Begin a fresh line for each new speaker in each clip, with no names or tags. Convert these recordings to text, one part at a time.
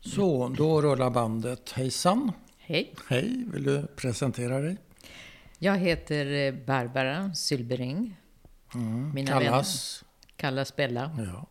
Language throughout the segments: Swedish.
Så, då rullar bandet. Hejsan!
Hej,
Hej, vill du presentera dig?
jag heter eh, Barbara Sylbering. Mina
Mm, Kallas?
vänner kallas Bella,
Ja,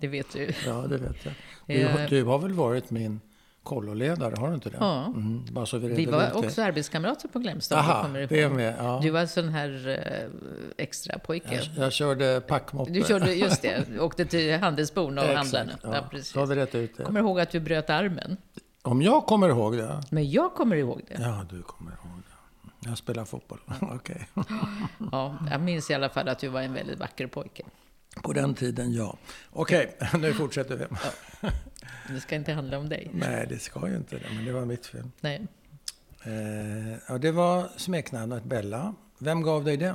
det vet du.
ja, det vet jag. Du,
Eh.
du har väl varit min kolloledare, har du inte det?
Ja.
Mm, bara så vi reder
Vi
ut
var
det.
också arbetskamrater på Glämsta. om du
Aha,
kommer ihåg.
det är med. Ja.
Du var en sån här eh, extra pojke.
jag, jag körde packmoppe.
Du körde, just det, åkte till handelsbon och
Exakt,
handlade.
Ja.
Ja,
Så har
precis.
vi rätt ut det.
Kommer ihåg att du bröt armen?
Om jag kommer ihåg det?
Men jag kommer ihåg det.
Ja, du kommer ihåg det. Jag spelar fotboll. Okej. Mm.
Ja, jag minns i alla fall att du var en väldigt vacker pojke.
På den tiden, ja. Okej, nu fortsätter vi.
Det ska inte handla om dig.
Nej, det ska ju inte det, men det var mitt fel.
Nej.
Eh, ja, det var smeknamnet Bella. Vem gav dig det?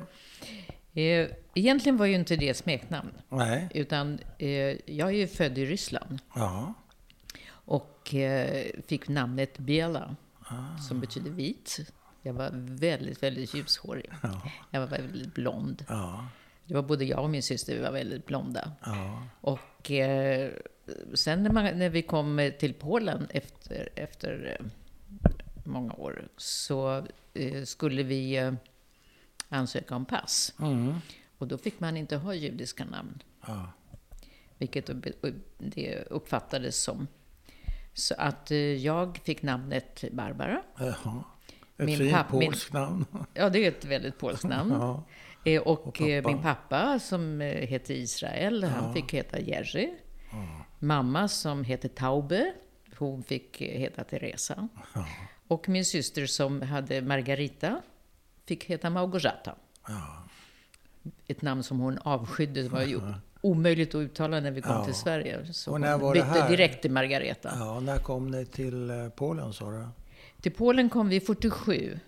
Eh, Egentligen var ju inte det smeknamn.
Nej.
Utan eh, jag är ju född i Ryssland
Ja.
och eh, fick namnet Biela, som betyder vit. Jag var väldigt, väldigt ljushårig. Jag var väldigt blond.
Ja.
Det var både jag och min syster, vi var väldigt blonda.
Ja.
Och eh, sen när, man, när vi kom till Polen efter, efter eh, många år så eh, skulle vi eh, ansöka om pass.
Mm.
Och då fick man inte ha judiska namn.
Ja.
Vilket upp- det uppfattades som. Så att eh, jag fick namnet Barbara.
Jaha. Ett
Min
fint
papp- min-
polskt namn.
Ja, det är ett väldigt polskt namn.
Ja.
Eh, Och, eh,
pappa.
min pappa som eh, heter Israel, han fick heta Jerry. Mamma som heter Taube, hon fick eh, heta Teresa. Och min syster som hade Margarita fick heta Małgorzata.
Ja.
Ett namn som hon avskydde, det var ju omöjligt att uttala när vi kom till Sverige. Så
Och när
hon
var det
bytte
här?
direkt till Margareta.
ja, när kom ni till eh, Polen sa du?
Till Polen kom vi 47.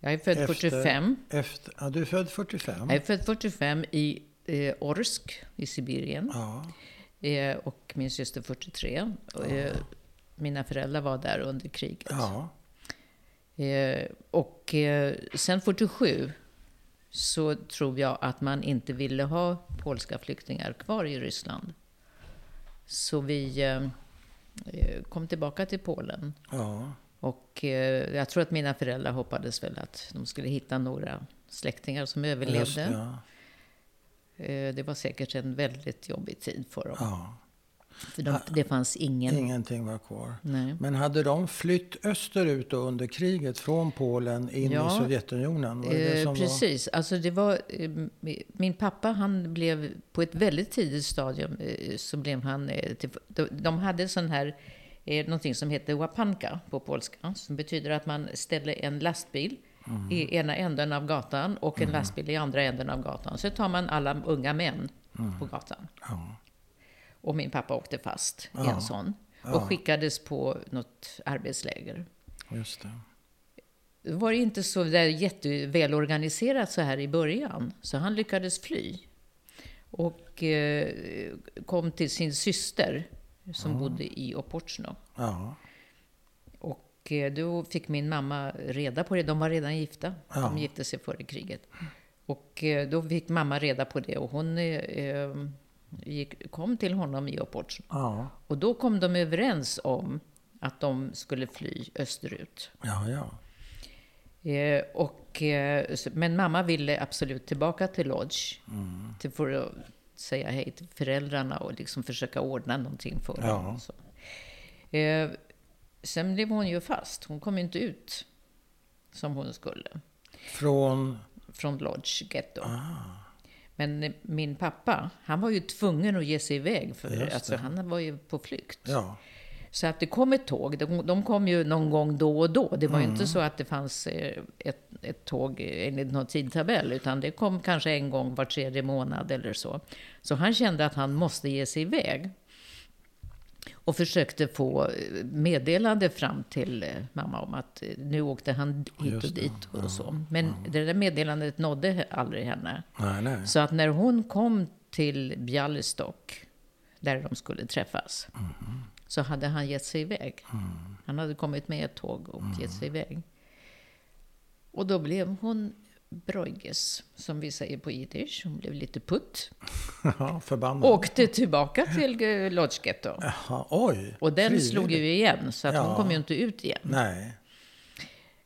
Jag är född
Efter-
45.
Efter, ja, du är född 45?
Jag är född 45 i eh, Orsk i Sibirien.
Ja.
Eh, och min syster 43. Och, eh, mina föräldrar var där under kriget.
Ah. ja.
Eh, och eh, sen 47 så tror jag att man inte ville ha polska flyktingar kvar i Ryssland. Så vi eh, eh, kom tillbaka till Polen.
Ja.
Och eh, jag tror att mina föräldrar hoppades väl att de skulle hitta några släktingar som
Just
överlevde.
det, ja.
Eh, det var säkert en väldigt jobbig tid för dem.
ja.
För de, det fanns ingen.
Ingenting var kvar.
Nej.
Men hade de flytt österut då under kriget från Polen in i
Ja.
Sovjetunionen? Var det det
Eh,
som
precis. Alltså det var, eh, min pappa han blev på ett väldigt tidigt stadium eh, så blev han... Eh, till, de, de hade sån här, eh, någonting som heter wapanka på polska. Som betyder att man ställer en lastbil
Mm.
i ena änden av gatan och en lastbil i andra änden av gatan. Så tar man alla unga män
Mm.
på gatan.
Var, ja.
Och min pappa åkte fast i
Ja.
en sån. Och
Ja.
skickades på något arbetsläger.
Just det.
Det var inte så där jättevälorganiserat så här i början, så han lyckades fly. Och eh, kom till sin syster som bodde i Opochno.
Ja.
Och eh, då fick min mamma reda på det. De var redan gifta.
Ja.
De gifte sig före kriget. Och eh, då fick mamma reda på det och hon eh, eh, gick, kom till honom i Opochno.
Ja.
Och då kom de överens om att de skulle fly österut.
Ja, ja.
Eh, och, eh, så- men mamma ville absolut tillbaka till Lodz.
Mm.
Till för att säga hej till föräldrarna och liksom försöka ordna någonting för
Ja.
honom. och Så. Eh, sen blev hon ju fast. Hon kom ju inte ut som hon skulle
Från...
från Lodz getto.
Ah.
Men eh, min pappa, han var ju tvungen att ge sig iväg. För,
Just
alltså,
det.
han var ju på flykt.
Ja.
Så att det kom ett tåg. De, de kom ju någon gång då och då. Det var
Mm.
ju inte så att det fanns eh, ett, ett tåg enligt någon tidtabell, utan det kom kanske en gång var tredje månad eller så. Så han kände att han måste ge sig iväg. Och försökte få eh, meddelande fram till eh, mamma om att eh, nu åkte han hit och
Just det.
dit och så. Men det där meddelandet nådde he- aldrig henne.
Nej, nej.
Så att när hon kom till Bialystok, där de skulle träffas, så hade han gett sig iväg.
Mm.
Han hade kommit med ett tåg och gett sig iväg. Och då blev hon Breuges, som vi säger på jiddisch. Hon blev lite putt.
Ja, förbannad.
Åkte tillbaka till eh, Lodz Ghetto.
Jaha, oj.
Och den
frivilligt.
slog ju igen, så att
Ja.
hon kom ju inte ut igen.
Nej.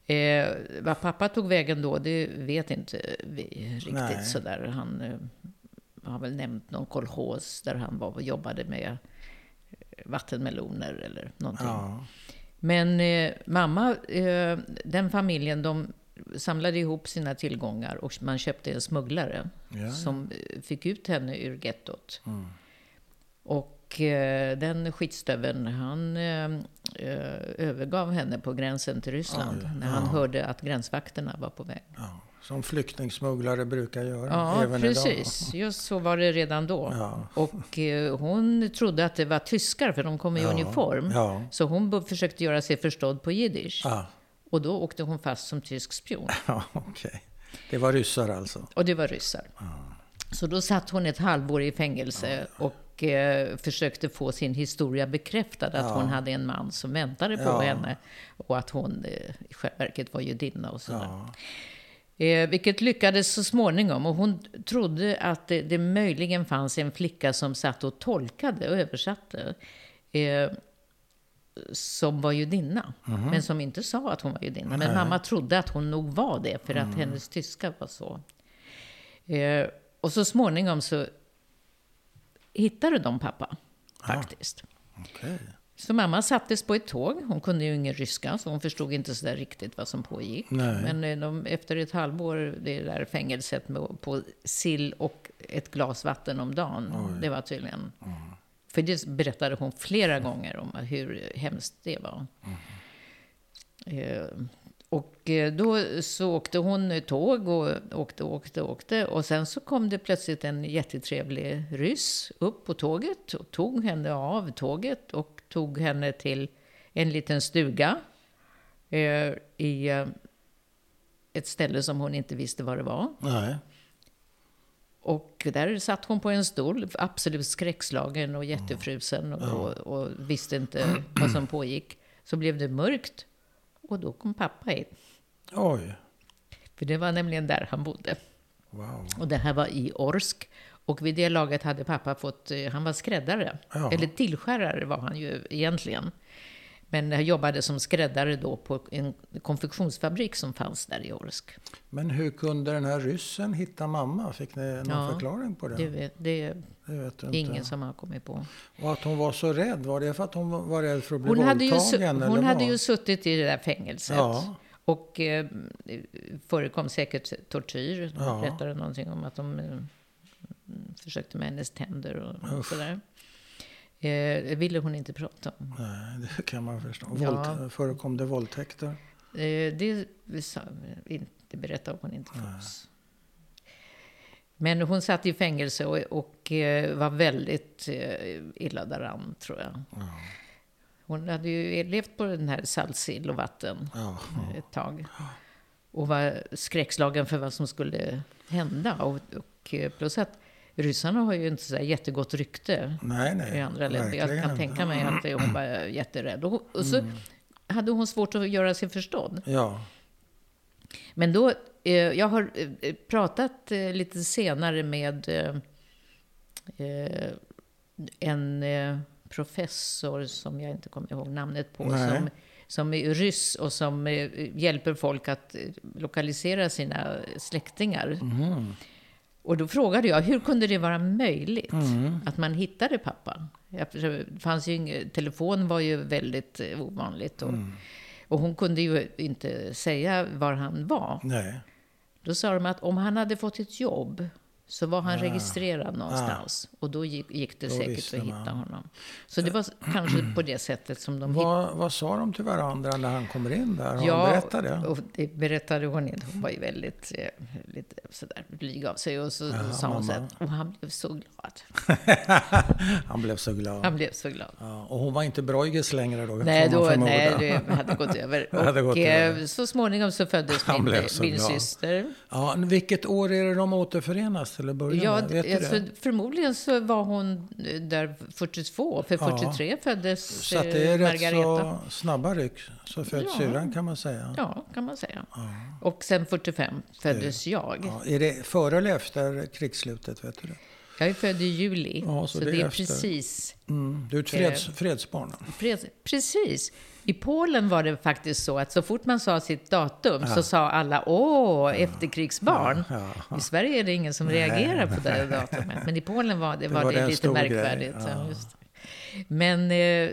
Eh, vad pappa tog vägen då, det vet inte vi riktigt
Nej.
sådär. Han eh, har väl nämnt någon kolchos där han var och jobbade med eh, vattenmeloner eller någonting.
Ja.
Men eh, mamma, eh, den familjen, de samlade ihop sina tillgångar och man köpte en smugglare
Ja. Mm.
som eh, fick ut henne ur gettot. Och eh, den skitstöveln, han eh, eh, övergav henne på gränsen till Ryssland när han hörde att gränsvakterna var på väg.
ja. Som flyktingsmugglare brukar göra.
Ja,
även
precis. Just så var det redan då.
Ja.
Och eh, hon trodde att det var tyskar, för de kom i
Ja.
uniform.
Idag. Ja.
Så hon bo- försökte göra sig förstådd på jiddisch.
Ah,
Och då åkte hon fast som tysk spion.
ja, okej. Det var ryssar alltså.
Och det var ryssar. Så då satt hon ett halvår i fängelse och eh, försökte få sin historia bekräftad. Att hon hade en man som väntade på
Ja.
henne. Och att hon eh, i själva verket var judinna och sådär.
Ja.
Eh, vilket lyckades så småningom. Och hon trodde att det, det möjligen fanns en flicka som satt och tolkade och översatte. Eh, som var judinna.
Mhm.
Men som inte sa att hon var judinna. Men mamma trodde att hon nog var det. För
Mm.
att hennes tyska var så. Eh, och så småningom så hittade de pappa. Faktiskt.
Okej.
Så mamma sattes på ett tåg. Hon kunde ju ingen ryska, så hon förstod inte så där riktigt vad som pågick.
Nej.
Men eh, de, efter ett halvår, det där fängelset med, på sill och ett glas vatten om dagen, det var tydligen... För det berättade hon flera gånger om hur hemskt det var. Eh, och eh, då så åkte hon tåg och åkte, åkte, åkte. Och sen så kom det plötsligt en jättetrevlig ryss upp på tåget och tog henne av tåget och tog henne till en liten stuga eh, i eh, ett ställe som hon inte visste vad det var.
Nej.
Och där satt hon på en stol, absolut skräckslagen och jättefrusen och, och, och visste inte vad som pågick. Så blev det mörkt och då kom pappa in.
Oj.
För det var nämligen där han bodde.
Wow.
Och det här var i Orsk. Och vid det laget hade pappa fått, eh, han var skräddare.
Ja.
Eller tillskärare var han ju egentligen. Men han jobbade som skräddare då på en konfektionsfabrik som fanns där i Orsk.
Men hur kunde den här ryssen hitta mamma? Fick ni någon
Ja,
förklaring på det?
Det, vet- det är
Det vet du inte.
ingen som har kommit på.
Och att hon var så rädd, var det för att hon var rädd för att bli
Hon hade,
våldtagen?
ju, su-
eller
hon hade
vad?
ju suttit i det där fängelset.
Ja.
Och eh, förekom säkert tortyr. De
Ja.
berättade någonting om att de eh, mm, försökte med hennes tänder och sådär. Eh, det ville hon inte prata om.
Nej, det kan man förstå.
Ja.
Våld... Förekom det våldtäkter?
Eh, det, sa, det berättade hon inte för oss. Men hon satt i fängelse och, och eh, var väldigt eh, illa däran, tror jag. Hon hade ju levt på den här saltsill och vatten
Ja.
eh, ett tag. Och var skräckslagen för vad som skulle hända. Och, och eh, plus att ryssarna har ju inte så där jättegott rykte
Nej, nej.
i andra länder. Jag
verkligen
kan
inte. Mm.
tänka mig att hon var jätterädd. Och, och så hade hon svårt att göra sig förstådd.
Ja.
Men då, eh, jag har eh, pratat eh, lite senare med eh, eh, en eh, professor som jag inte kommer ihåg namnet på,
Nej.
som, som är ryss och som eh, hjälper folk att eh, lokalisera sina släktingar. Mhm. Och då frågade jag, hur kunde det vara möjligt
Mm.
att man hittade pappa? Jag- Det fanns ju inget, telefon var ju väldigt eh, ovanligt. Och, och hon kunde ju inte säga var han var.
Nej.
Då sa de att om han hade fått ett jobb så var han registrerad någonstans. Och då gick, gick det
Ah. Då
säkert
visste
att
man.
hitta honom. Så det var s- kanske på det sättet som de hittade
Vad, vad sa de till varandra när han kommer in där? Har
Ja,
han berättat det?
Och det berättade hon inte. Hon var ju väldigt eh, lite sådär blyg av sig. Och så sa hon så
mamma.
att, och han blev så glad.
han blev så glad.
Han blev så glad.
Ja, och hon var inte Breuges längre då,
Nej,
får
då,
man förmoda.
nej, det hade gått över. Och
Det hade gått
eh,
över.
så småningom så föddes
Han
min,
blev så
min
glad.
syster.
Ja, vilket år är det de återförenas till till att börja
Ja,
med? Vet du
alltså,
det?
förmodligen så var hon eh, där 42, för
Ja.
43 föddes
Så att det är
eh,
rätt
Margareta.
så snabba ryck. Så föds
Ja.
syrran kan man säga.
Ja, kan man säga. Och sen 45 föddes jag.
Ja, är det före eller efter krigsslutet? Vet du det?
Jag är född i juli,
Ja,
så, det är,
efter.
precis,
Mm. Du är ett
Eh.
freds, fredsbarn.
pre- precis. I Polen var det faktiskt så att så fort man sa sitt datum så sa alla åh, efterkrigsbarn. I Sverige är det ingen som reagerar på det datumet, men i Polen var det, var
var
det,
en
lite
stor grej,
märkvärdigt. så
ja.
just. Men eh,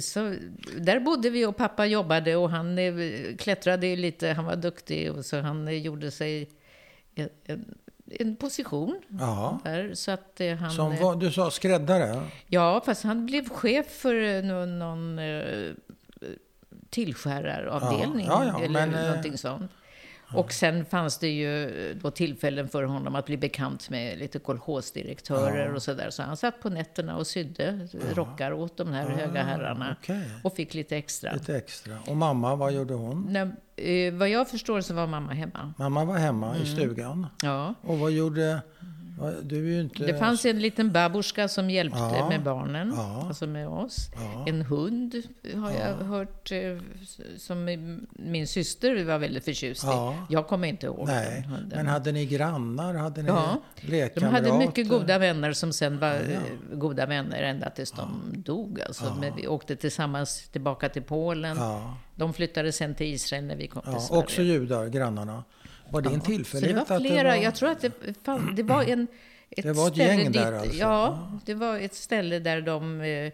så, där bodde vi och pappa jobbade och han eh, klättrade ju lite, han var duktig och så han eh, gjorde sig en, en, en position.
Ja.
Där, så att eh, han,
Som
eh,
vad, du sa skräddare.
Ja, fast han blev chef för eh, någon, någon eh, tillskäraravdelning
Ja, ja, ja,
eller
men, eh,
någonting sånt. Och sen fanns det ju eh, då tillfällen för honom att bli bekant med lite kolchosdirektörer och sådär. Så han satt på nätterna och sydde rockar åt de här höga herrarna.
Ah, Okej.
Och fick lite extra.
Lite extra. Och mamma, vad gjorde hon?
När, eh, vad jag förstår så var mamma hemma.
Mamma var hemma i
Mm.
stugan.
Ja.
Och vad gjorde... vad- Du är ju inte...
Det fanns en liten babuska som hjälpte
Ja,
med barnen,
ja.
alltså med oss. En hund har jag hört, eh, som min syster var väldigt förtjust i.
Ja.
Jag kommer inte ihåg
Nej,
den hunden.
men hade ni grannar? Hade ni
Ja, de
lekkamrater?
hade mycket goda vänner som sen var eh, goda vänner ända tills de dog. Alltså. Men vi åkte tillsammans tillbaka till Polen.
Ja.
De flyttade sen till Israel när vi kom till
Ja,
Sverige.
också judar, grannarna. Var det en
Så det var
tillfällighet?
flera.
att det var...
Jag tror att det, fan, det var en... Ett
Det var ett
ställe
gäng där
dit,
alltså.
Ja, det var ett ställe där de... eh,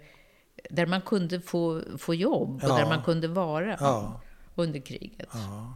Där man kunde få, få jobb och
Ja.
där man kunde vara
Ja.
under kriget.
Men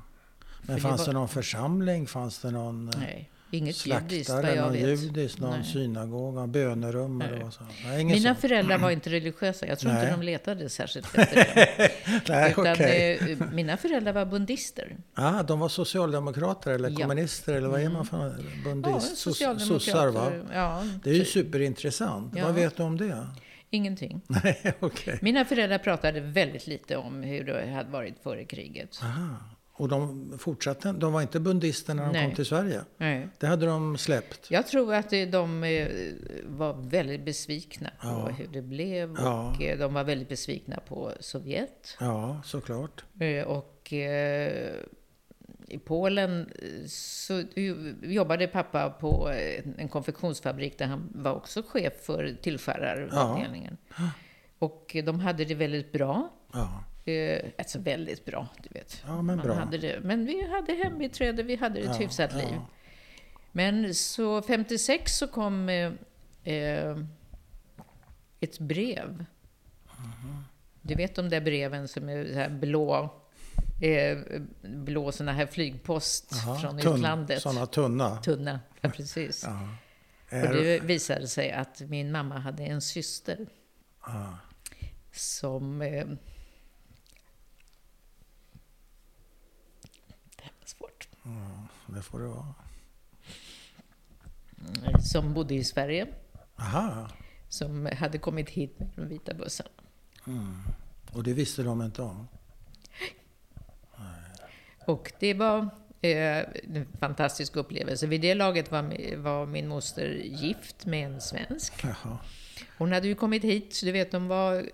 för det
fanns det
var-
någon församling? Fanns det någon eh,
Nej, inget judiskt vad
slaktare,
jag
någon
vet.
judisk, någon
Nej.
synagoga, bönerum eller vad som Nej, inget
Mina
sånt.
föräldrar var inte religiösa. Jag tror
Nej.
inte de letade särskilt efter det.
Nej,
Utan,
okej.
eh, Mina föräldrar var bundister.
Ah, de var socialdemokrater eller
Ja. Mm.
kommunister eller vad är man för
Ja,
bundist? Sos-
socialdemokrater.
Sossar va?
Ja,
Det är ju
typ.
superintressant.
Ja.
Vad vet du om det?
Ingenting.
Nej, okej.
Mina föräldrar pratade väldigt lite om hur det hade varit före kriget.
Aha. Och de fortsatte? De var inte bundister när de
Nej.
kom till Sverige?
Nej.
Det hade de släppt?
Jag tror att eh, de eh, var väldigt besvikna på hur det blev
Ja.
och eh, de var väldigt besvikna på Sovjet.
Ja, såklart.
Eh, Och eh, i Polen eh, så ju- jobbade pappa på eh, en konfektionsfabrik där han var också chef för tillskäraravdelningen. Och eh, de hade det väldigt bra.
Ja.
Eh, Alltså väldigt bra, du vet.
Ja, men bra.
Hade det. Men vi hade hembiträde, vi hade ett hyfsat liv. Men så 56 så kom eh, eh, ett brev.
Mhm.
Du vet de där breven som är så här blå, eh, blå såna här flygpost
Aha.
från
Tunn-
utlandet.
Sådana tunna.
Tunna, ja precis.
Är-
Och det visade sig att min mamma hade en syster
Ja.
som... Eh, det här var svårt.
Det får det vara.
Eh, Som bodde i Sverige,
Aha.
som hade kommit hit med den vita bussen.
Och det visste de inte om?
Och det var eh, en fantastisk upplevelse. Vid det laget var, mi- var min moster gift med en svensk.
Jaha.
Hon hade ju kommit hit, så du vet, de var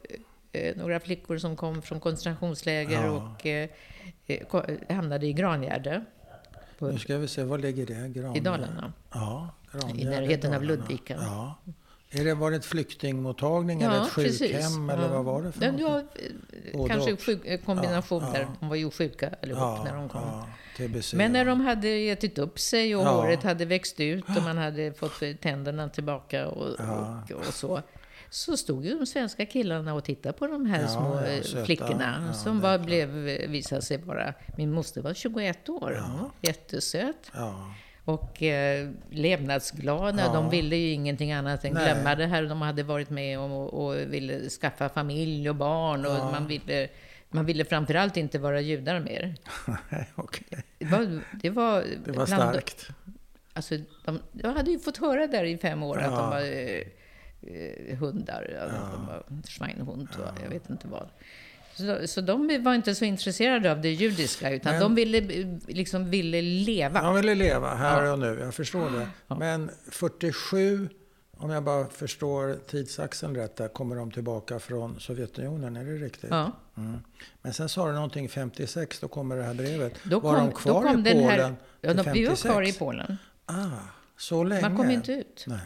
eh, några flickor som kom från koncentrationsläger
Ja.
och eh, eh, ko- hamnade i Grangärde på-
Nu ska vi se, var ligger det? Gran...
i Dalarna.
Ja, Grangärde,
I närheten av
Dalarna.
Ludvika.
Ja. Är det, var det ett flyktingmottagning eller ett sjukhem?
precis.
Eller
Ja.
vad var det för
Ja, det
någonting?
var,
Både
eh, kanske
och.
sjuk, eh, kombination
Ja,
där.
ja.
De var ju sjuka allihop när de kom.
Ja, TBC.
Men när de hade ätit upp sig och
Typ. Ja.
håret hade växt ut och man hade fått tänderna tillbaka och,
Ja.
och, och så. Så stod ju de svenska killarna och tittade på de här
Ja,
små
ja,
eh,
söta.
flickorna.
Ja,
som
det är
var, blev, visade sig vara... Min moster var 21 år. Hon var jättesöt.
Ja.
Och eh, levnadsglada.
Ja.
De ville ju ingenting annat än
Nej.
glömma det här de hade varit med om och, och ville skaffa familj och barn. Och man, ville, man ville framförallt inte vara judar mer.
Nej, okej.
Det var, det var,
Det var
bland-
starkt.
Alltså, de, jag hade ju fått höra där i fem år att
Ja.
de var eh, eh, hundar, ja. de var schweinhund och jag vet inte vad. Så, så de var inte så intresserade av det judiska, utan
Men-
de ville, liksom, ville leva.
Han ville leva här och nu, jag förstår det. Men 47, om jag bara förstår tidsaxeln rätt, där kommer de tillbaka från Sovjetunionen, är det riktigt?
Ja.
Mm. Men sen sa du någonting 56, då kommer det här brevet.
Då
var
kom,
de kvar
då kom
i
den
Polen
här, ja,
till
de, Vi var kvar i
56?
Polen.
Ah, så länge?
Man kom inte ut.
Nej.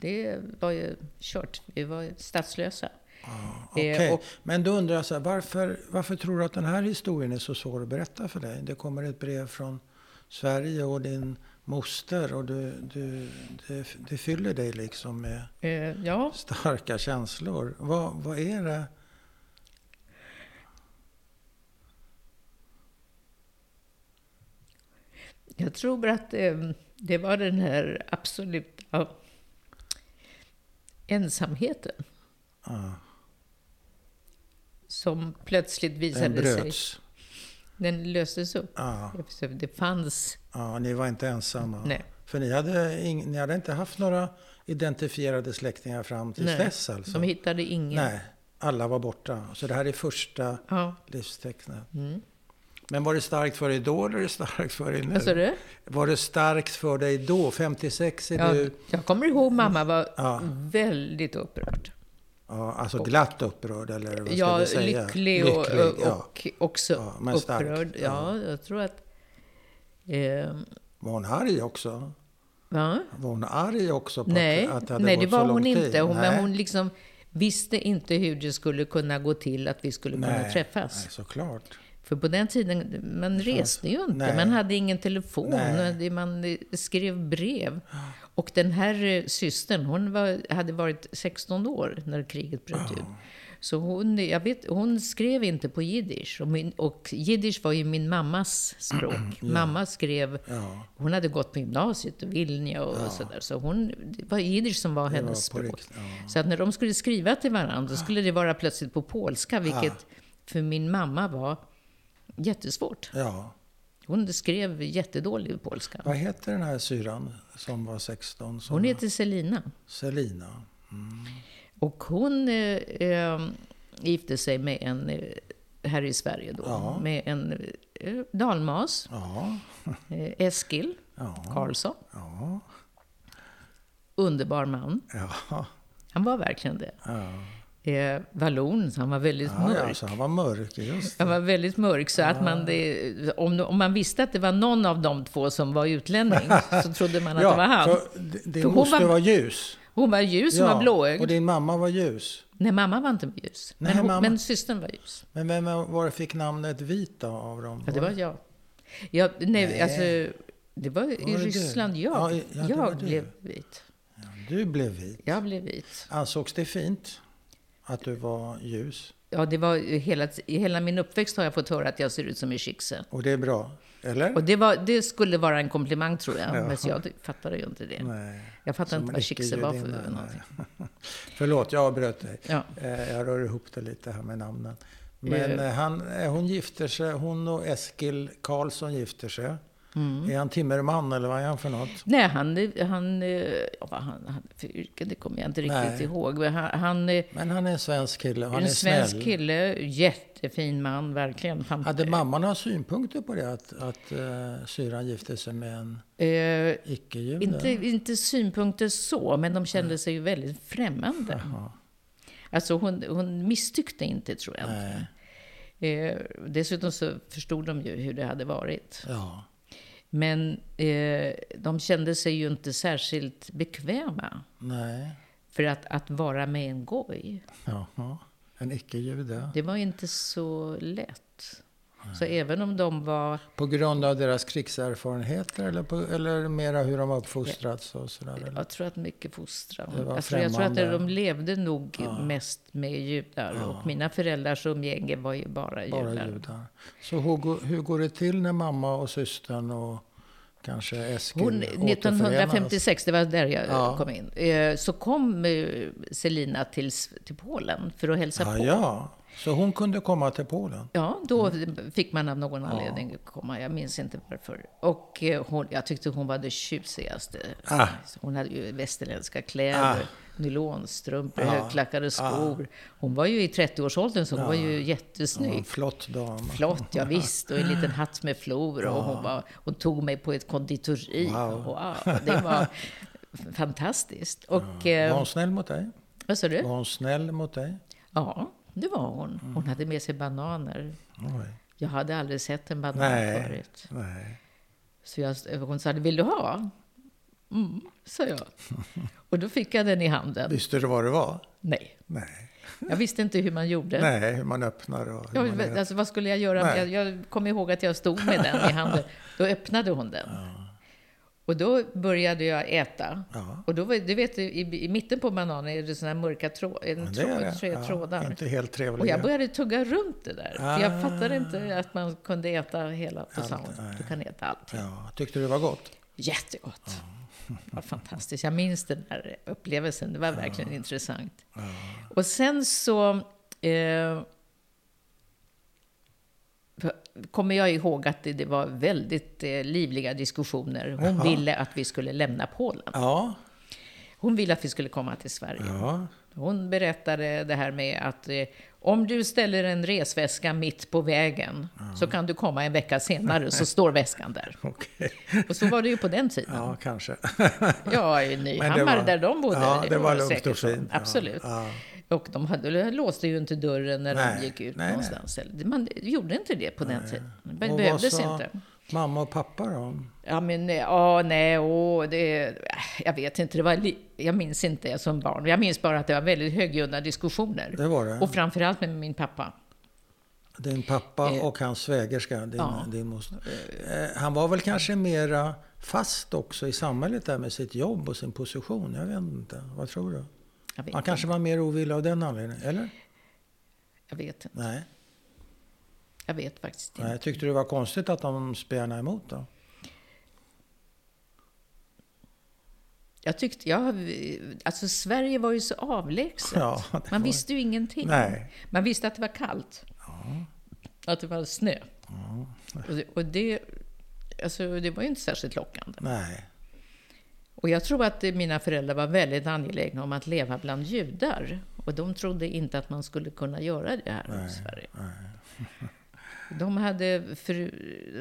Det var ju kört. Vi var ju statslösa. Eh,
Ah, Okej,
och-
men då undrar jag så här, varför, varför tror du att den här historien är så svår att berätta för dig? Det kommer ett brev från Sverige och din moster och du, du, det, det fyller dig liksom med
Eh, ja,
starka känslor. Vad, vad är det?
jag tror att eh, det var den här absoluta ensamheten
Ah,
som plötsligt
den
visade sig.
bröts.
Den löstes upp.
Ja,
Så Det fanns...
ja, ah, ni var inte ensamma.
Nej.
För ni hade, ing, ni hade inte haft några identifierade släktingar fram till
Nej,
dess alltså?
De hittade ingen.
Nej, alla var borta. Så det här är första
Ja.
livstecknet.
Mm.
Men var det starkt för dig då eller är det starkt för dig nu?
Vad sa du?
Var det starkt för dig då? 56 är
Ja,
du...
jag kommer ihåg mamma var
Ja.
väldigt upprörd.
Ja, alltså glatt upprörd eller vad ska
Ja,
vi säga?
lycklig och, och,
ja.
också
Ja, men stark.
upprörd. Ja, jag tror att... Eh,
Var hon arg också?
va?
Var hon arg också på
Nej,
att, att det hade
nej
gått
det
så
var
lång
hon
tid?
inte. Hon, men
Nej.
hon liksom visste inte hur det skulle kunna gå till att vi skulle kunna
nej.
träffas.
Nej, såklart.
För på den tiden, man reste ju inte.
Nej.
Man hade ingen telefon.
Nej.
det- Man eh, skrev brev. Och den här eh, systern, hon var, hade varit 16 år när kriget bröt ut. Så hon, jag vet, hon skrev inte på jiddisch. Och, min- och jiddisch var ju min mammas språk. Mamma skrev...
Ja,
Hon hade gått på gymnasiet och Vilnia och sådär. Så hon, det var jiddisch som var
det var
hennes
på
språk.
riktigt. Ja.
Så att när de skulle skriva till varandra, då skulle det vara plötsligt på
Ah.
polska, vilket för min mamma var jättesvårt.
ja.
Hon skrev jättedålig polska.
Vad heter den här syran som var 16? Som
Hon heter Selina.
Selina.
Och hon eh, eh, gifte sig med en, eh, här i Sverige då,
Ja.
med en eh, dalmas,
Ja,
eh, Eskil
ja,
Karlsson.
ja,
Underbar man.
ja.
Han var verkligen det.
ja.
Eh, vallon, så han var väldigt
ja
mörk.
alltså, han var mörk, just det.
Han var väldigt mörk, så att man, det, om, om man visste att det var någon av de två som var utlänning så trodde man att det var han.
för d- din
För hon
moster
var-
var, ljus.
Hon var ljus, hon var
och
blåögd.
din mamma var ljus.
Nej, mamma var inte ljus.
Nej,
Men, hon,
mamma-
men systern var ljus.
Men vem var fick namnet Vita av dem?
Ja, det var jag. jag nej,
Nej.
alltså... Det var i
Var det du?
Ryssland jag,
Ja, i- ja, det var
jag
du.
blev vit.
Du blev vit.
Jag blev vit.
Ansågs det fint att du var ljus?
Ja, det var ju hela, i hela min uppväxt har jag fått höra att jag ser ut som en kyckse.
Och det är bra, eller?
Och det, var, det skulle vara en komplimang tror jag,
Ja.
men jag fattade ju inte det.
Nej.
Jag fattade
Som
inte
en
vad kyckse var för
icke-judinna,
någonting.
nej. Förlåt, jag avbröt dig.
Ja.
Eh, Jag rör ihop det lite här med namnen. Men
Eh.
eh, han, eh, hon gifter sig, hon och Eskil Karlsson gifter sig. Är han timmerman eller vad är han för något?
Mm. Nej, han, han, eh, ja, vad han hade för yrke, det kommer jag inte riktigt
Nej.
ihåg. Men Han, han eh,
Men han är en svensk kille och han
en
är
svensk
snäll.
kille, jättefin man, verkligen. Han,
Hade mamman några synpunkter på det, att, att eh, syran gifte sig med en
eh,
icke-jude?
inte, inte synpunkter så, men de kände sig ju väldigt främmande.
Jaha.
Alltså hon, hon misstyckte inte, tror jag.
Nej.
Eh, dessutom så förstod de ju hur det hade varit.
Ja.
Men eh, de kände sig ju inte särskilt bekväma
Nej.
för att, att vara med en goj.
Jaha. En icke-jude.
Det var inte så lätt. Så även om de var...
På grund av deras krigserfarenheter eller, på, eller mera hur de har uppfostrats och sådär? Eller?
Jag tror att mycket fostran.
Det var
Alltså, jag tror att
främmande.
de levde nog mest med judar. Och mina föräldrars umgänge var ju bara
Bara
judar.
judar. Så hur, går- hur går det till när mamma och systern och kanske Eskil
Hon,
återförenas?
1956, det var där jag eh,
Ja.
kom in, eh, så kom eh, Selina till, S- till Polen för att hälsa
Ja,
på.
ja. Så hon kunde komma till Polen?
Ja, då fick man av någon anledning komma. Jag minns inte varför. Och eh, hon, jag tyckte hon var det tjusigaste.
Ah.
Hon hade ju västerländska kläder, nylonstrumpor, högklackade skor. Hon var ju i 30-årsåldern, så hon var ju jättesnygg.
En flott dam.
Flott, ja, visst. Och en liten hatt med flor. Och hon, var, hon tog mig på ett konditori. Wow. det var fantastiskt. Och,
Var
eh,
hon snäll mot dig?
vad sa du?
Var hon snäll mot dig?
Ja, det var hon. Hon hade med sig bananer.
Oj.
Jag hade aldrig sett en banan
Nej.
förut.
Nej.
Så jag, hon sa, vill du ha? Mm, sa jag. Och då fick jag den i handen.
Visste du vad det var?
Nej,
Nej.
jag visste inte hur man gjorde.
Nej, hur man öppnar och hur
Jag,
man gör.
alltså, vad skulle jag göra? med- Jag,
Nej.
jag kom ihåg att jag stod med den i handen. Då öppnade hon den. Och då började jag äta.
Ja.
Och då var, du vet, i, i mitten på bananen är det såna här mörka trå, en
Men
trå,
är
tre
Ja,
trådar.
Inte helt trevligt.
Och jag började tugga runt det där. För
Ah.
jag fattade inte att man kunde äta hela. Då sa hon,
nej.
du kan äta allt.
Ja, tyckte du det var gott?
Jättegott. Det var fantastiskt. Jag minns den här upplevelsen. Det var verkligen intressant. Och sen så eh, kommer jag ihåg att det, det var väldigt eh, livliga diskussioner. Hon ville att vi skulle lämna Polen.
Ja.
Hon ville att vi skulle komma till Sverige.
Ja.
Hon berättade det här med att eh, om du ställer en resväska mitt på vägen så kan du komma en vecka senare så står väskan där.
Okej.
Och så var det ju på den tiden.
Ja, kanske.
Ja, i Nyhammar
var-
där de bodde.
ja, det var
det
lugnt och
säkert så.
fint, ja,
Absolut.
ja.
Och de, hade, de låste ju inte dörren när
Nej,
de gick ut
nej, nej.
någonstans. Eller- Man gjorde inte det på den tiden. Det
Och vad
behövdes
sa
inte.
Mamma och pappa då?
Ja, men eh, ja, nej, åh, det, äh, jag vet inte. Det var li, jag minns inte som barn. Jag minns bara att det var väldigt högljudda diskussioner.
Det var det.
Och framförallt med min pappa.
Din pappa och hans svägerska, din,
Eh. ja.
din moster. Eh, Han var väl kanske mera fast också i samhället där med sitt jobb och sin position. Jag vet inte. Vad tror du?
Jag vet,
Han kanske var mer ovillig av den anledningen, eller?
jag vet, inte.
Nej.
jag vet faktiskt inte.
Nej. Tyckte du det var konstigt att de spjärnade emot då?
Jag tyckte, jag, alltså Sverige var ju så avlägset.
Ja, det
Man
var-
visste ju ingenting.
Nej.
Man visste att det var kallt. Att det var snö. Och, det, och det, alltså, det var ju inte särskilt lockande.
Nej.
Och jag tror att eh, mina föräldrar var väldigt angelägna om att leva bland judar. Och de trodde inte att man skulle kunna göra det här i Sverige. De hade, fru,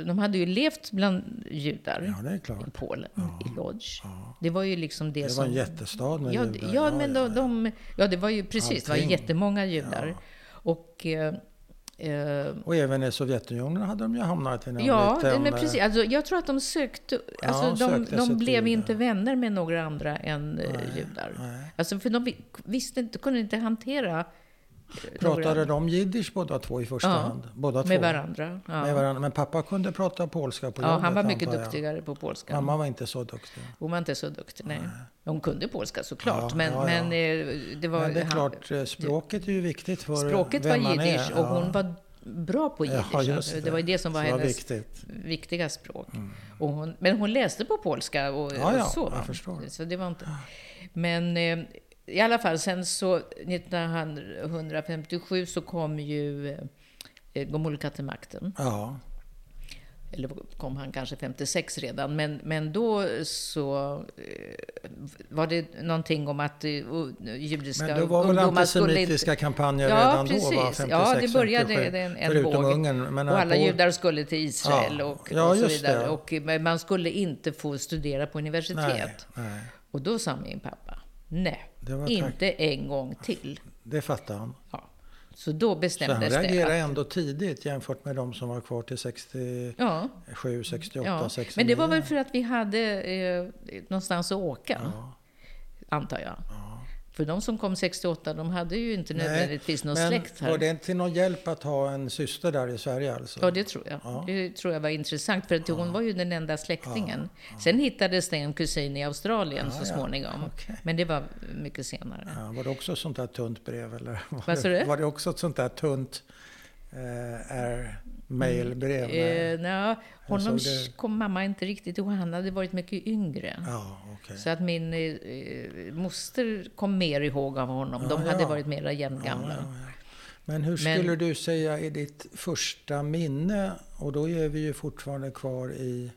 de hade ju levt bland judar
Ja, det är
i
klart.
Polen, i Lodz. Det var ju liksom det,
Det var
som...
en jättestad med
Ja,
judar.
d- ja, men de, de, ja, det var ju precis, det var
Allting.
jättemånga judar. Och, eh, eh,
Och även i Sovjetunionen hade de ju hamnat i någon
ja,
liten...
men
eh,
precis. Alltså, jag tror att de sökte, alltså
Ja,
de,
sökte sig
de
till judar.
blev inte vänner med några andra än eh, judar. Alltså, för de vi- visste inte, kunde inte hantera eh,
Pratade
några
de jiddisch båda två i första
Ja,
hand? Båda två.
med varandra. Ja.
med varandra. Men pappa kunde prata polska på
Ja,
jobbet,
han var mycket
antar jag.
duktigare på polska.
Mamma var inte så duktig.
Hon var inte så duktig, nej. Hon kunde polska såklart,
Ja,
men,
ja, ja.
men eh, det var...
Men det är
han-
klart, eh, språket är ju viktigt för
Språket var
vem man
jiddisch
är.
och hon var bra på jiddisch.
Ja, just
Alltså,
det.
det var ju det som var
Så det var
hennes
viktigt.
viktiga språk. Och hon, men hon läste på polska och,
Ja, ja,
och så.
jag
va?
förstår.
Så det var inte... Men eh, i alla fall, sen så 1957 så kom ju eh, Gomulka till makten.
Ja,
Eller kom han kanske 56 redan. Men, men då så eh, var det någonting om att eh, judiska
men då var väl
ungdomar skulle inte...
antisemitiska kampanjer
Ja,
redan då? Va?
precis.
56,
Ja, det började
57,
en- en
Förutom
våg.
Ungern. Men
Och alla
på-
judar skulle till Israel
Ja.
och,
Ja,
och så
just det.
vidare. Och eh, men man skulle inte få studera på universitet.
Nej, nej,
Och då sa min pappa, nej,
Det var
inte en gång till.
det fattar han.
Ja. Så då
Så han
bestämdes det.
reagerade
att-
ändå tidigt jämfört med de som var kvar till 67,
Ja,
68,
ja.
69.
Men det var väl för att vi hade eh, någonstans att åka, antar jag. För de som kom 68, de hade ju inte
Nej,
nödvändigtvis någon
men
släkt här.
Var det till någon hjälp att ha en syster där i Sverige alltså?
Ja, det tror jag. Det tror jag var intressant, för att hon var ju den enda släktingen. Sen hittades det en kusin i Australien så
Ah, ja.
småningom,
Okej.
men det var mycket senare.
Ja, var det också ett sånt där tunt brev? Eller var,
Vad sa
det,
du?
var det också ett sånt där tunt eh, air mailbrev? Nej.
Eh, nja, honom
såg det-
kom mamma inte riktigt ihåg. Han hade varit mycket yngre.
Ja, okej.
Så att min eh, eh, moster kom mer ihåg av honom. De
Ja,
hade
Ah, ja. Ah,
varit mera jämngamla.
Ja, ja, ja. Men hur
Men-
skulle du säga är ditt första minne? Och då är vi ju fortfarande kvar i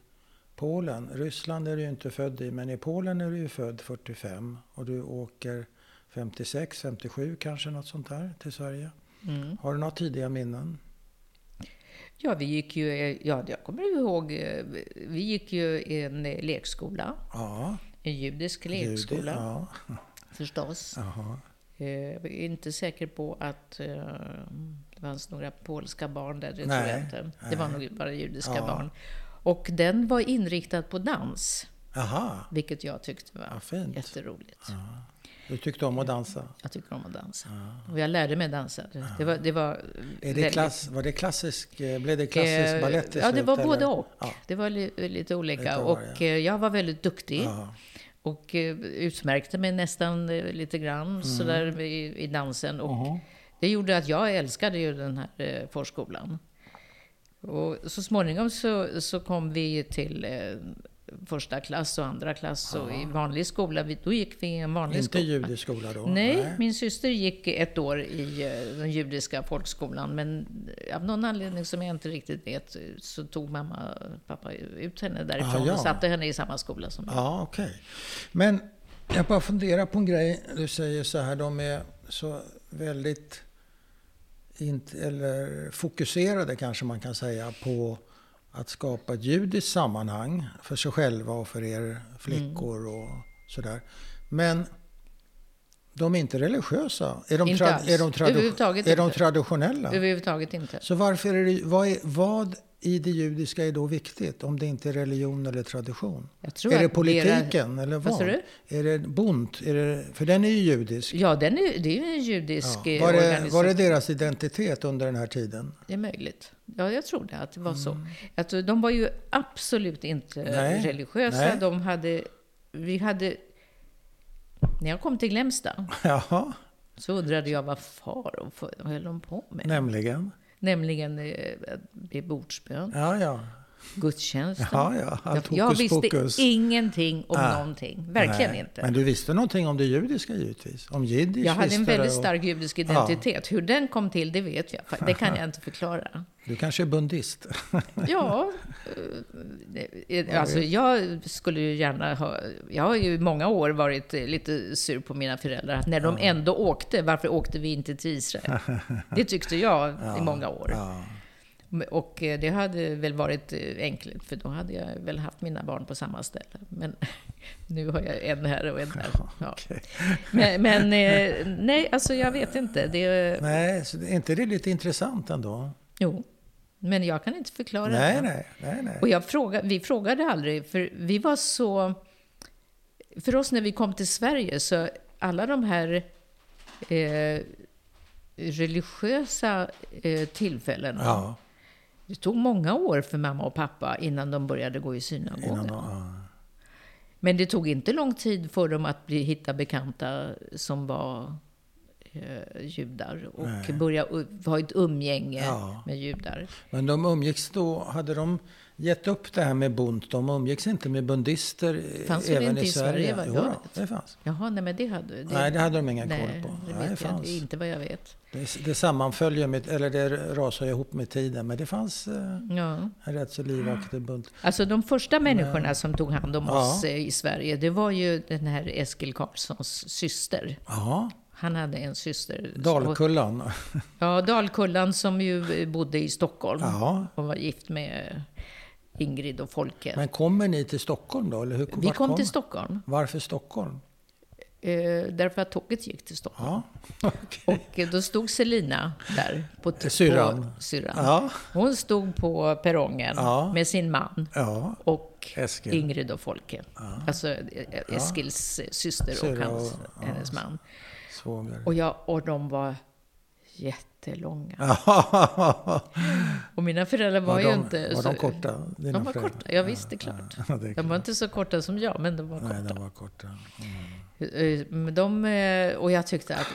Polen. Ryssland är du ju inte född i, men i Polen är du ju född 45 och du åker 56, 57 kanske något sånt där till Sverige.
Mm.
Har du några tidiga minnen?
Ja, vi gick ju, eh, ja, jag kommer ihåg, eh, vi gick ju i en eh, lekskola,
Ja,
en judisk lekskola
Judi, ja.
förstås.
Jaha.
Eh, Jag är inte säker på att eh, det fanns några polska barn där, det tror
Nej,
jag inte. Det var nog bara judiska
Ja.
barn. Och den var inriktad på dans,
Jaha,
vilket jag tyckte var
Ja, fint.
jätteroligt.
du tyckte om att dansa.
Jag tycker om att dansa. Och jag lärde mig dansa. Det var, det var
Är det
väldigt-
klass, var det klassisk, eh, blev det klassisk
Eh,
balett till
Ja, det
slut,
var
eller?
både och.
Ja.
Det var li, lite olika.
Lite av varje.
och eh, jag var väldigt duktig.
Ja.
Och eh, utmärkte mig nästan eh, lite grann
Mm.
sådär i, i dansen. Och Det gjorde att jag älskade ju den här eh, förskolan. Och så småningom så, så kom vi till eh, första klass och andra klass och i vanlig skola. Vi, då gick vi i en vanlig
Inte
skola.
judisk skola då?
Nej, min syster gick ett år i eh, den judiska folkskolan men eh, av någon anledning som jag inte riktigt vet eh, så tog mamma och pappa ut henne därifrån
Ah, ja.
och satte henne i samma skola som jag.
Ja, okej. Men jag bara funderar på en grej. Du säger så här, de är så väldigt int- eller fokuserade kanske man kan säga på att skapa ett judiskt sammanhang för sig själva och för er flickor
Mm.
och sådär. Men de är inte religiösa. Är de,
Inte
trad-
alls.
är de, tradu-
Överhuvudtaget
är de
inte.
traditionella?
Överhuvudtaget inte.
Så varför är det, vad, är, vad i det judiska är då viktigt om det inte är religion eller tradition?
Jag tror
är det
att deras-
politiken eller vad?
sa du?
Är det Bont? Är det, för den är ju judisk.
Ja, den är, det är ju en judisk
Ja.
eh,
Var, det,
organisation.
var det deras identitet under den här tiden?
Det är möjligt. Ja, jag tror det, att det var så. Att eh, de var ju absolut inte
Mm. Nej,
religiösa.
nej.
De hade... Vi hade... När jag kom till Glämsta
Jaha,
så undrade jag vad far och för, vad höll de på med?
nämligen.
Nämligen eh, att be bordsbön,
Ja, ja.
gudstjänsten.
Ja, ja. Allt
jag, jag
hokus
visste
pokus.
ingenting om
Ah.
någonting. Verkligen
Nej.
inte.
Men du visste någonting om det judiska givetvis? Om jiddisch
jag hade
visste
en
du,
väldigt
och-
stark judisk identitet. Hur den kom till, det vet jag. fa- Det kan jag inte förklara.
Du kanske är bundist?
Ja, eh, eh, alltså jag skulle ju gärna ha... Jag har ju i många år varit eh, lite sur på mina föräldrar. Att när de ändå åkte, varför åkte vi inte till Israel? Det tyckte jag i många år.
Ja.
Och eh, det hade väl varit eh, enkelt, för då hade jag väl haft mina barn på samma ställe. Men nu har jag en här och en där. Ja.
okej.
Men, men eh, nej, alltså jag vet inte. Det,
Nej, så det- är inte det lite intressant ändå?
jo, men jag kan inte förklara det.
Nej, nej, nej. nej.
Och jag fråga, vi frågade aldrig, för vi var så... För oss när vi kom till Sverige, så alla de här eh, religiösa eh, tillfällena,
Ja,
det tog många år för mamma och pappa innan de började gå i synagogan.
innan de, ja.
Men det tog inte lång tid för dem att bli, hitta bekanta som var eh, judar och börja u- ha ett umgänge
Ja.
med judar.
Men de umgicks då, hade de gett upp det här med bond? De umgicks inte med bundister eh,
Fanns det
även
inte
i
i Sverige, vad
Jo,
jag
då,
vet?
det fanns.
Jaha, nej men det hade det,
Nej, det hade de ingen
nej,
koll på. Nej,
Det
det
vet jag
fanns.
inte vad jag vet.
Det, det sammanföljer med, eller det rasar ju ihop med tiden, men det fanns eh,
Ja.
en rätt så livaktig bunt.
Alltså de första människorna som tog hand om
Ja.
oss eh, i Sverige, det var ju den här Eskil Karlssons syster.
Ja,
Han hade en syster. som-
Dalkullan.
Ja, Dalkullan som ju eh, bodde i Stockholm
Ja.
och var gift med Ingrid och Folke.
Men kommer ni till Stockholm då? Eller hur,
Vi
vart
kom till Stockholm,
Varför Stockholm?
eh, därför att tåget gick till Stockholm.
Ja, okej.
Och eh, då stod Selina där, på, t-
Syrran.
på syrran.
Ja,
Hon stod på perrongen
Ja.
med sin man
ja.
och
Eskil.
Ingrid och Folke. Alltså eh, Eskils eh, syster och,
Syrra
hans,
och- ja.
hennes man.
Svåger.
Och, jag, och de var jättelånga. Och mina föräldrar var,
var,
ju
de,
inte...
var
så-
de korta? dina
De var
föräldrar?
korta, ja visst, det är klart.
Ja, det är
De
klart.
var inte så korta som jag, men de var
Nej,
korta.
de var korta.
Eh, men De, eh, och jag tyckte att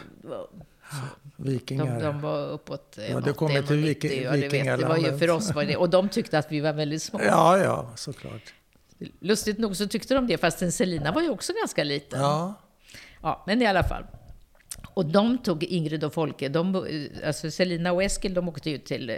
Vikingar.
de, de var uppåt eh,
Ja,
ja,
du kommer till Viki-
det var ju
Vikingalandet.
för oss var det, och de tyckte att vi var väldigt små.
Ja, ja, såklart.
Lustigt nog så tyckte de det, fastän Selina var ju också ganska liten.
Ja,
Ja, men i alla fall. Och de tog Ingrid och Folke, de, bo- alltså Selina och Eskil, de åkte ju till eh,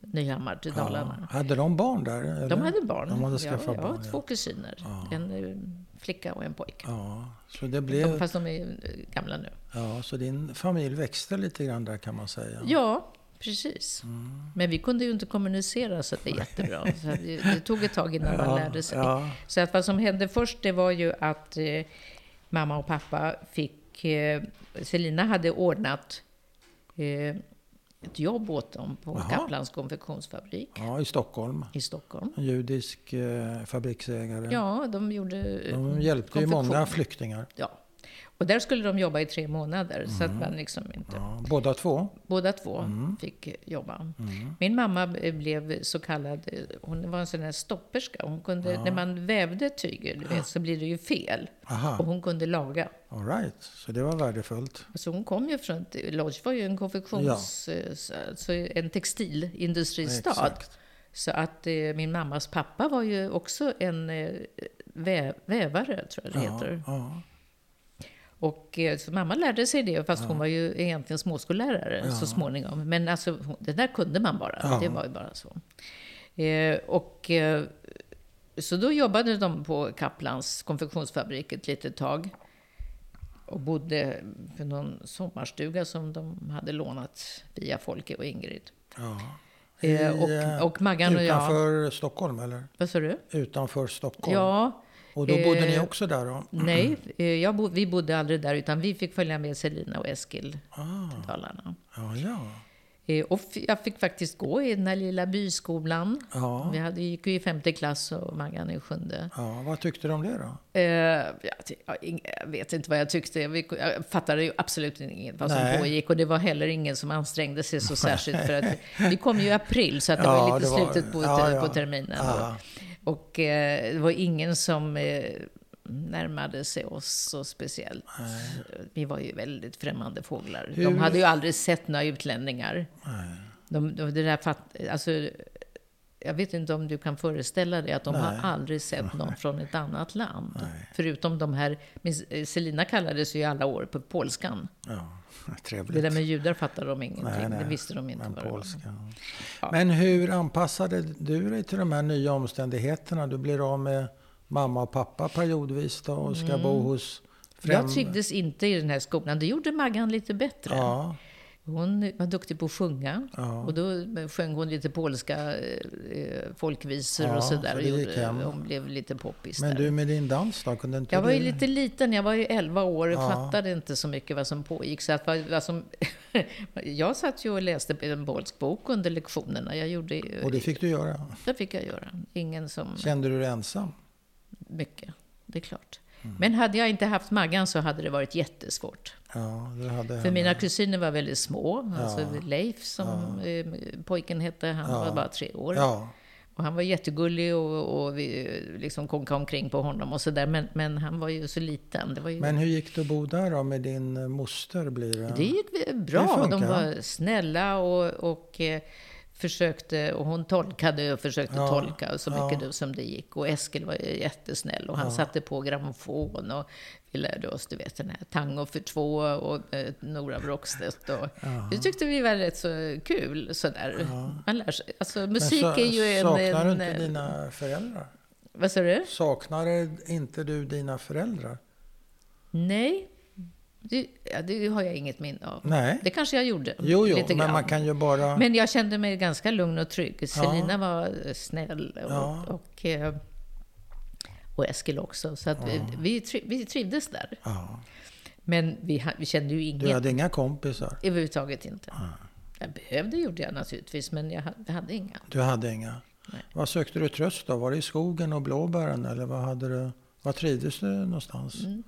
Nyhammar, till Dalarna.
Ja. Hade de barn där? eller?
De hade barn.
De hade
ja,
skaffat
jag
barn,
har
ja.
två kusiner. En eh, flicka och en pojke.
Ja, så det
De,
blev...
fast de är eh, gamla nu.
Ja, så din familj växte lite grann där kan man säga.
Ja, precis.
Mm.
Men vi kunde ju inte kommunicera så det är jättebra. Så att det, det tog ett tag innan man lärde sig.
Ja,
Så att vad som hände först det var ju att eh, mamma och pappa fick... Eh, Selina hade ordnat eh, ett jobb åt dem på
Jaha.
Kaplans konfektionsfabrik
ja, i Stockholm.
i Stockholm.
En judisk eh, fabriksägare.
Ja, de gjorde... eh,
De hjälpte ju
konfektion.
många flyktingar.
Ja. Och där skulle de jobba i tre månader, så att man liksom inte...
Ja, båda två.
Båda två fick jobba. Min mamma eh, blev så kallad, eh, hon var en sån här stopperska. Hon kunde, När man vävde tyger, du vet, så blir det ju fel. Och
Aha,
hon kunde laga.
all right. Så det var värdefullt.
Så Alltså, hon kom ju från, Lodz var ju en konfektions, eh, så- alltså en textilindustristad.
Exakt.
Så att eh, min mammas pappa var ju också en eh, vä- vävare, tror jag det heter.
Ja,
Och eh, så mamma lärde sig det, fast hon var ju egentligen småskollärare så småningom. Men alltså, hon- det där kunde man bara.
Ja.
Det var ju bara så. Eh, och, eh, så då jobbade de på Kaplans konfektionsfabrik ett litet tag. Och bodde på någon sommarstuga som de hade lånat via Folke och Ingrid.
ja.
Eh,
I, eh,
och, och Maggan och jag...
Utanför Stockholm eller?
Vad sa du?
Utanför Stockholm.
Ja,
och då bodde ni
eh,
också där då?
nej. eh, Jag bo, vi bodde aldrig där, utan vi fick följa med Selina och Eskil
Ah,
till Dalarna.
ja, ja.
Eh, Och f- jag fick faktiskt gå i den här lilla byskolan.
Ja,
Vi hade, gick ju i femte klass och Maggan i sjunde.
ja. Vad tyckte du om det då?
Eh, jag, ty- jag ing- jag vet inte vad jag tyckte. Jag, vi- jag fattade ju absolut inget vad som
Nej.
pågick. Och det var heller ingen som ansträngde sig så särskilt. För att vi kom ju i april, så att det
Ja,
var ju lite
det var-
slutet på,
ja, ja.
på terminen.
Ja.
Och, och eh, det var ingen som eh, närmade sig oss så speciellt. Vi var ju väldigt främmande fåglar. De
Hur-
hade ju aldrig sett några utlänningar. De, de, det där fatt, alltså, jag vet inte om du kan föreställa dig att de har aldrig sett någon från ett annat land. Förutom de här, minns- eh, Selina kallades ju i alla år på polskan.
Ja,
Det
trevligt.
där med judar fattade de ingenting,
Nej, nej.
det visste de inte
Men
vad det var.
polska. ja. Men hur anpassade du dig till de här nya omständigheterna? Du blir av med mamma och pappa periodvis då och ska bo hos främ...
Mm. Jag trivdes inte i den här skolan, det gjorde Maggan lite bättre.
Ja,
Hon var duktig på att sjunga
Ja.
och då sjöng hon lite polska eh, folkvisor
Ja,
och sådär.
så
och
det gick
gjorde-
hem.
Hon blev lite poppis
men
där.
du med din dans då? Kunde inte
Jag var ju
du-
lite liten, jag var ju 11 år och
Ja.
fattade inte så mycket vad som pågick. Så att vad, vad som jag satt ju och läste en polsk bok under lektionerna. Jag gjorde ju,
Och det fick du göra.
det fick jag göra. Ingen som...
Kände du dig ensam?
Mycket, det är klart.
Mm.
Men hade jag inte haft Maggan så hade det varit jättesvårt.
Ja, du hade
För
henne.
mina kusiner var väldigt små. Alltså Leif, som eh, pojken hette, han var bara tre år.
Ja,
Och han var jättegullig och, och vi eh, liksom konkade omkring på honom och sådär. Men, men han var ju så liten. Det var ju
men hur gick det att bo där då med din eh, moster? Blir det?
Det gick väl bra.
funkar,
de var snälla och, och eh, försökte, och hon tolkade och försökte
Ja,
tolka så mycket
ja.
det- som det gick. Och Eskil var ju jättesnäll och han satte på grammofon och vi lärde oss, du vet, den här tango för två och eh, Nora Brockstedt. Och, Det tyckte vi var rätt så kul sådär. Man lär sig, alltså
Men
musik
så-
är ju en...
Saknar du
en, eh,
inte dina föräldrar?
Vad sa du?
Saknar inte du dina föräldrar?
Nej. Det, ja, det har jag inget minne av.
Nej.
Det kanske jag gjorde.
Jo, jo,
lite
men
grann.
man kan ju bara...
Men jag kände mig ganska lugn och trygg. Selina var snäll och,
Ja.
och, eh, och Eskil också. Så att vi, vi, tri- vi trivdes där.
Ja.
Men vi, ha- vi kände ju
Du
inget
hade inga kompisar?
överhuvudtaget inte. Jag behövde gjorde jag naturligtvis, men jag hade, hade inga.
Du hade inga?
Nej.
Vad sökte du tröst då? Var det i skogen och blåbären eller vad hade du? Var trivdes du någonstans?
Mm.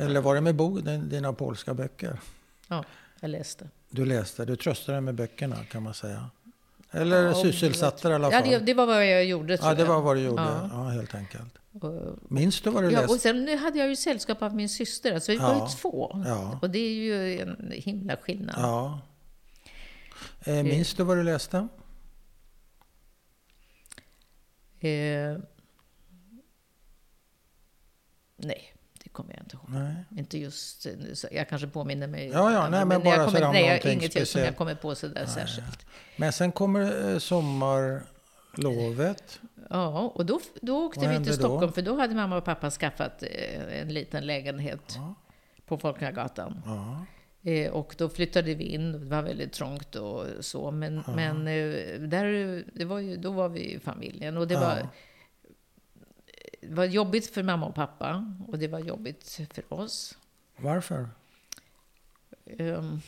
Eller var det med bo, din- dina polska böcker?
Ja, jag läste.
Du läste, du tröstade dig med böckerna kan man säga. Eller
Ja,
sysselsatte dig i alla
Ja,
fall?
det, det var vad jag gjorde tror
ja, det var vad du
jag.
gjorde, ja.
Ja.
helt enkelt.
Och,
Minns du vad du
Ja, och
läste?
sen nu hade jag ju sällskap av min syster, alltså vi var
Ja.
ju två.
Ja.
Och det är ju en himla skillnad.
Ja. Eh, minns du vad du läste?
Eh, nej, det mycket kommer jag inte ihåg.
Nej.
Inte just, så jag kanske påminner mig.
Ja, ja, nej, men
jag
bara
kommer-
sådär om
nej, jag har
någonting
inget just som jag
speciellt.
kommer på sådär särskilt.
Men sen kommer eh, sommarlovet.
Ja, och då, då åkte
Vad
vi
hände
till
då?
Stockholm, för då hade mamma och pappa skaffat eh, en liten lägenhet på Folkungagatan.
Ja.
Eh, och då flyttade vi in, det var väldigt trångt och så. Men, men eh, där, det var ju, då var vi i familjen. Och det,
Ja.
var, det var jobbigt för mamma och pappa och det var jobbigt för oss.
Varför?
Ehm,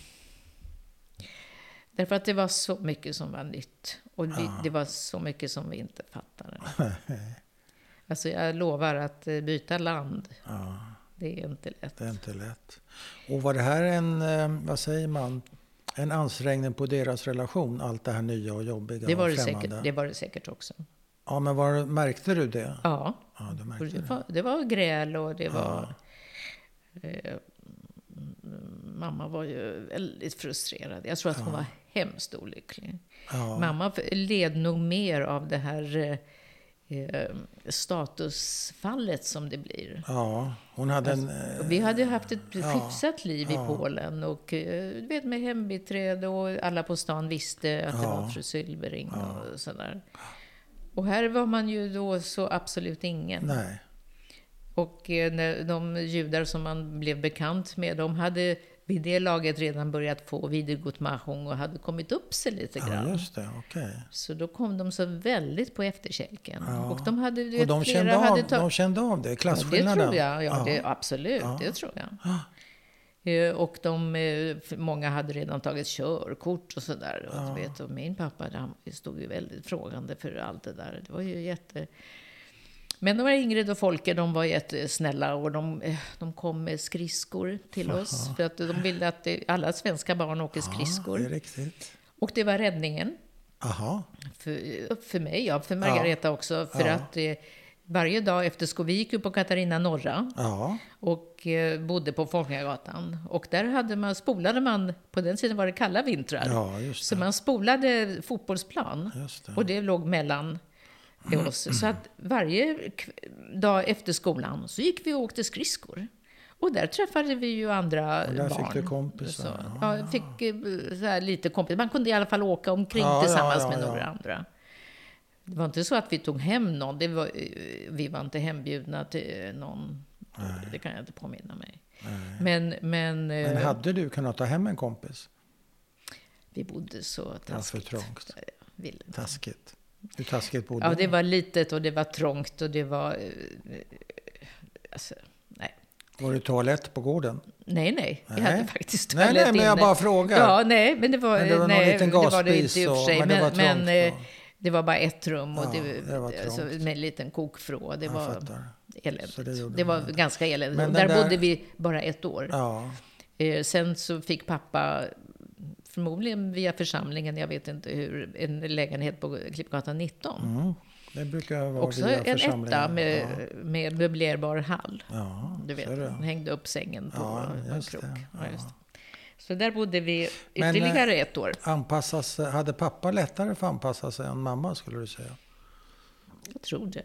därför att det var så mycket som var nytt. Och vi, det var så mycket som vi inte fattade. alltså jag lovar att eh, byta land,
Ja,
det är inte lätt.
det är inte lätt. Och var det här en, eh, vad säger man, en ansträngning på deras relation? Allt det här nya och jobbiga
Det var
och
det,
främmande.
säkert, det var det säkert också.
Ja, men var, märkte du det?
Ja.
Ja, du
Och
märkte
det,
det.
var, det var gräl och det var... Eh, mamma var ju väldigt frustrerad. Jag tror att hon var hemskt olycklig.
Ja,
Mamma f- led nog mer av det här eh, eh, statusfallet som det blir.
ja, hon hade
Alltså,
en... eh,
Och Vi hade haft ett
Ja.
hyfsat liv i Polen och eh, du vet med hembiträde och alla på stan visste att det
Ja.
var fru Sylbering och sådär. Och här var man ju då så absolut ingen.
Nej.
Och eh, när de judar som man blev bekant med, de hade vid det laget redan börjat få Wiedergutmachung och hade kommit upp sig lite
Ja,
grann.
just det. Okej.
så då kom de så väldigt på efterkälken.
Ja.
Och de hade, du
Och
vet,
de
flera
kände, av,
hade tag-
de kände av det,
Ja, Det
klasskillnaden?
tror jag, ja, Det, absolut. Det tror jag. Eh, Och de, eh, f- många hade redan tagit körkort och sådär. Och, du vet, och min pappa han stod ju väldigt frågande för allt det där. Det var ju jätte... Men de här Ingrid och Folke, de var jättesnälla och de, eh, de kom med skridskor till oss. För att de ville att det, alla svenska barn åker
Ja, det är
skridskor.
riktigt.
Och det var räddningen.
Aha.
För, för mig, ja. För Margareta också. För
Ja.
att eh, varje dag efter skolan, vi gick ju på Katarina Norra
Ja.
och eh, bodde på Folkungagatan. Och där hade man, spolade man, på den tiden var det kalla vintrar.
Ja, just
Så
det.
man spolade fotbollsplan
Just det.
och det låg mellan oss. Så att varje kv- dag efter skolan så gick vi och åkte skridskor. Och där träffade vi ju andra
Och där
barn.
fick du kompisar,
Så, ja, jag fick eh, så här, lite kompisar. Man kunde i alla fall åka omkring
Ja, ja,
tillsammans
ja,
med
ja.
några andra. Det var inte så att vi tog hem någon. Det var, eh, vi var inte hembjudna till någon. Det kan jag inte påminna mig. Men, men,
Men
eh,
hade du kunnat ta hem en kompis?
vi bodde så
Det var för
taskigt.
trångt.
Ville inte.
Taskigt. Hur taskigt bodde
Ja,
du?
det var litet och det var trångt och det var... eh, eh, Alltså, nej.
Var det toalett på gården?
Nej, nej. Vi
Nej.
hade faktiskt
Nej, nej,
toalett
men jag
inne.
bara frågar.
Ja, nej, men det var...
Men det var någon
nej,
liten
det var det
gasspis
inte i och för
och-
sig.
men det var trångt
eh,
då.
det var bara ett rum och
Ja,
det,
det var
alltså,
trångt.
med en liten kokvrå. Det
Jag
var
fattar.
eländigt.
Så det
Det,
gjorde
var
man inte.
ganska eländigt.
Men
Och
den
där,
där-
bodde vi bara ett år.
Ja,
Eh, sen så fick pappa, förmodligen via församlingen, jag vet inte hur, en lägenhet på Klippgatan 19.
mm. det brukar vara
Också
via
en
församlingen.
etta med, med möblerbar hall.
Ja,
Du vet,
ser
han hängde upp sängen på
Ja,
en
just
krok.
det.
Ja, just det. Så där bodde vi
Men, eh,
ytterligare ett år.
Anpassas, hade pappa lättare för att anpassa sig än mamma skulle du säga?
Jag tror det.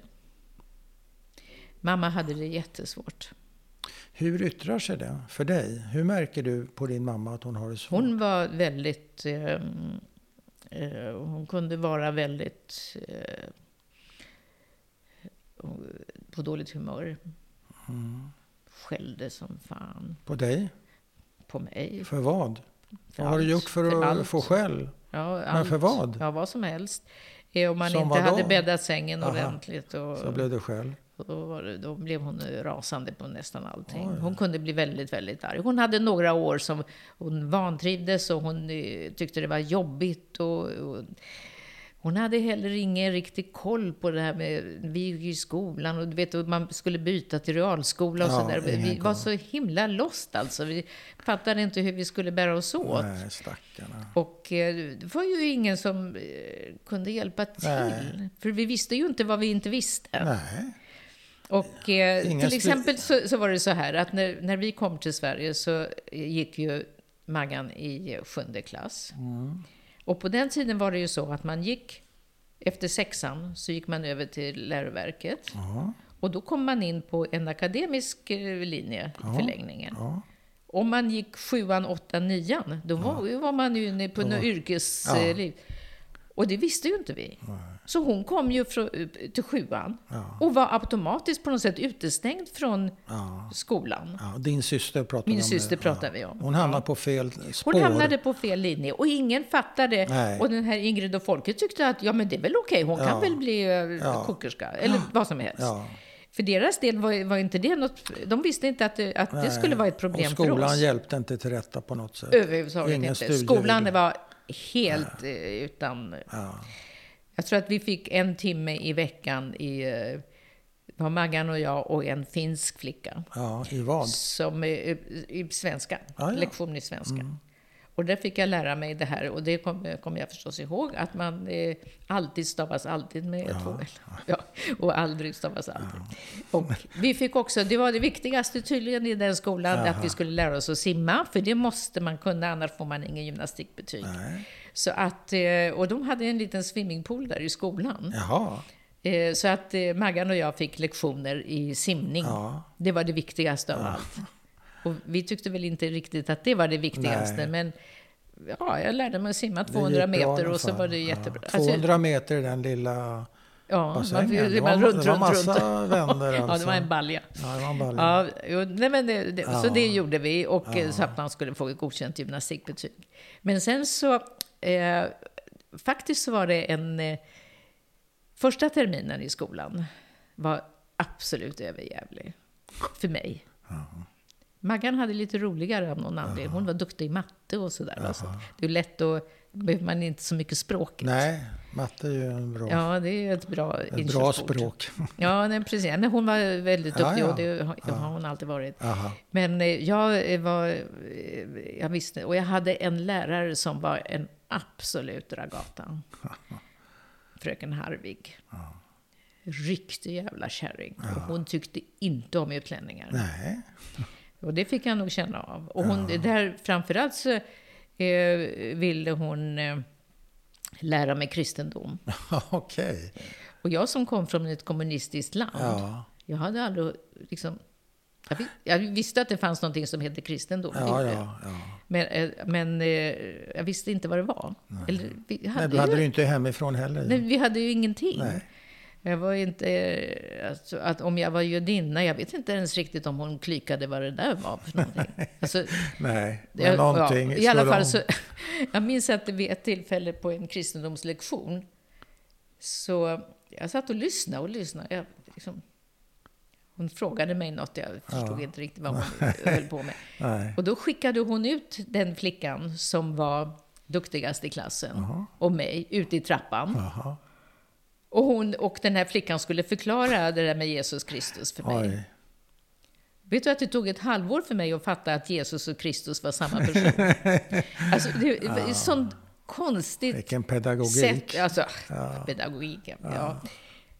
Mamma hade det jättesvårt.
Hur yttrar sig det för dig? Hur märker du på din mamma att hon har det svårt?
Hon var väldigt... Eh, eh, hon kunde vara väldigt... Eh, på dåligt humör.
Mm.
Skällde som fan
På dig?
på mig.
För vad?
För
Vad har du
allt,
gjort för att få skäll?
Ja,
Men för vad?
Ja, vad som helst. Eh, Om man
Som
inte
vad
hade
då?
bäddat sängen
Aha.
ordentligt. Och,
Så blev det skäll.
och då, var det, då blev hon eh, rasande på nästan allting. Hon kunde bli väldigt, väldigt arg. Hon hade några år som hon vantrivdes och hon eh, tyckte det var jobbigt. Och, och, hon hade heller ingen riktig koll på det här med, vi gick ju i skolan och du vet, och man skulle byta till realskola och
Ja,
sådär.
ingen
Vi var
koll.
så himla lost alltså. Vi fattade inte hur vi skulle bära oss åt.
Nej, stackarna.
Och eh, det var ju ingen som eh, kunde hjälpa till.
Nej.
För vi visste ju inte vad vi inte visste.
Nej.
Och eh,
Ingen
till
spe-
exempel så, så var det så här att när, när vi kom till Sverige så gick ju Maggan i sjunde klass. Och på den tiden var det ju så att man gick, efter sexan så gick man över till läroverket.
Ja.
Och då kom man in på en akademisk eh, linje,
Ja.
förlängningen.
Ja.
Om man gick sjuan, åttan, nian, då var, var man ju inne på
Då
något
var-
yrkesliv. Och det visste ju inte vi. Så hon kom ju frå- till sjuan
Ja.
och var automatiskt på något sätt utestängd från
Ja.
skolan.
Ja. Din syster pratar
Min
vi om.
syster
det.
pratar vi om.
Hon hamnade på fel spår.
Hon hamnade på fel linje och ingen fattade.
Nej.
Och den här Ingrid och folket tyckte att ja, men det är väl okej, hon
Ja.
kan väl bli eh,
Ja.
kokerska eller vad som helst.
Ja.
För deras del var, var inte det något, de visste inte att, det- att det skulle vara ett problem
Och
för oss.
skolan hjälpte inte till rätta på något sätt.
Överhuvudtaget
Ingen
inte.
studieväg.
Skolan var helt eh, utan...
Ja.
Jag tror att vi fick en timme i veckan i... eh, det var Maggan och jag och en finsk flicka.
ja, i vad? Ah,
Som eh, i svenska.
ja. Mm.
Lektion i svenska. Och där fick jag lära mig det här och det kommer kom jag förstås ihåg att man eh, alltid stavas alltid med två L. Ja, och aldrig stavas aldrig. Och vi fick också, det var det viktigaste tydligen i den skolan, att vi skulle lära oss att simma, för det måste man kunna, annars får man ingen gymnastikbetyg.
Nej.
Så att, eh, och de hade en liten swimmingpool där i skolan.
Jaha.
Eh, Så att eh, Maggan och jag fick lektioner i simning.
Ja.
Det var det viktigaste av allt. Och vi tyckte väl inte riktigt att det var det
Nej.
viktigaste, men ja, jag lärde mig att simma
Det gick
200
bra i alla
meter och så
fall.
var det
Ja.
jättebra. Alltså-
200 meter i den lilla
ja, man,
bassängen.
det var runt,
det var
runt,
massa
runt.
vänder alltså.
Ja, det var en balja.
Ja, det var en balja.
Ja, jo, nej, men det, det, Så
Ja.
det gjorde vi, och, eh, så att man skulle få ett godkänt gymnastikbetyg. Men sen så, eh, faktiskt så var det en... Eh, första terminen i skolan var absolut överjävlig. För mig. Maggan hade lite roligare av någon anledning. Hon var duktig i matte och sådär. va, Så det är lätt att... behöver man inte så mycket språk.
Nej, matte är ju en bra,
Ja, det är ett bra
ett bra
inkörsport.
språk.
Ja, nej, precis. Nej, hon var väldigt
Ja,
duktig
ja.
och det har, har hon alltid varit.
Aha.
Men eh, jag eh, var... eh, Jag visste, och jag hade en lärare som var en absolut ragata. Fröken Harvig. Riktig jävla kärring. Och hon tyckte inte om utlänningar.
Nej.
Och det fick jag nog känna av. Och hon, där framförallt så eh, ville hon eh, lära mig kristendom.
Okej.
Och jag som kom från ett kommunistiskt land,
Ja.
jag hade aldrig liksom... Jag, vi- jag visste att det fanns någonting som hette kristendom. det
Ja,
gjorde jag.
ja, ja.
Men, eh, men eh, jag visste inte vad det var. Eller, vi, hade
Nej, du
ju,
hade det ju inte hemifrån heller.
nej, vi hade ju ingenting.
Nej.
Jag var inte... eh, Alltså, att om jag var judinna, jag vet inte ens riktigt om hon klykade vad det där var för någonting. Alltså,
Nej, men
jag-
någonting
ja, I alla
skulle
fall
hon-
så, jag minns att vid ett tillfälle på en kristendomslektion, så jag satt och lyssnade och lyssnade. Jag, liksom, hon frågade mig något, jag förstod inte riktigt vad hon höll på med.
Nej.
Och då skickade hon ut den flickan som var duktigast i klassen och mig ut i trappan.
Jaha.
Och, hon, och den här flickan skulle förklara det där med Jesus Kristus för mig.
Oj.
Vet du att det tog ett halvår för mig att fatta att Jesus och Kristus var samma person? alltså, det var ett sånt konstigt
Vilken pedagogik.
sätt. Alltså, pedagogik, ja. ja.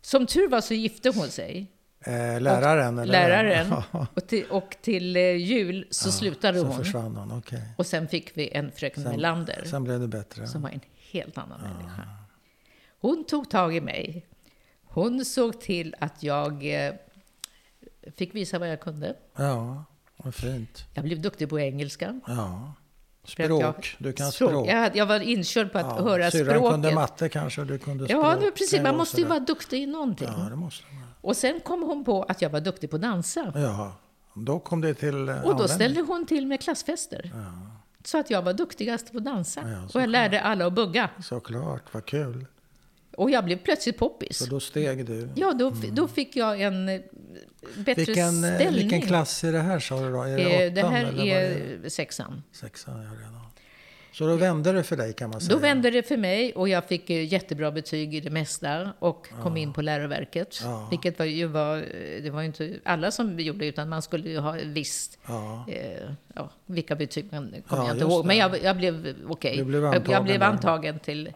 Som tur var så gifte hon sig,
Eh, läraren? Eller?
läraren.
Ja,
Och till, och till eh, jul så slutade
så
hon.
försvann hon, okej.
Och sen fick vi en fröken Melander,
Sen Ah. blev det bättre.
som var en helt annan människa. Hon tog tag i mig. Hon såg till att jag eh, fick visa vad jag kunde.
Ja, vad fint.
Jag blev duktig på engelska.
Ja.
För att
Språk,
jag-
du kan
språk.
språk.
Jag, hade- jag var inkörd på att höra
syrran
språket.
kunde matte kanske och du kunde språk.
ja, det var precis. Man
Och
måste ju
sådär.
vara duktig i någonting.
Ja, det måste man.
Och sen kom hon på att jag var duktig på att dansa.
Ja, då kom det till eh,
Och då
användning.
ställde hon till med klassfester. Så att jag var duktigast på att dansa.
Ja,
och jag lärde alla att bugga.
Såklart, vad kul.
Och jag blev plötsligt poppis.
Så då steg du.
Ja, då, fi- då fick jag en eh, bättre
vilken, Mm. eh,
ställning.
vilken klass är det här sa du då? Är det
Eh,
åttan
Det här
eller vad är det?
är sexan.
Sexan, ja redan. Så då vände det för dig kan man säga.
Då vände det för mig och jag fick eh, jättebra betyg i det mesta och
Ah.
kom in på läroverket.
Ja.
Vilket var, ju var, eh, det var ju inte alla som gjorde utan man skulle ju ha visst
Ja,
eh, ja, vilka betyg man kommer
Ja,
jag inte
just
ihåg. Men
det.
jag, jag blev eh, okej.
Du blev
Jag, jag
antagen
blev
där.
antagen till eh,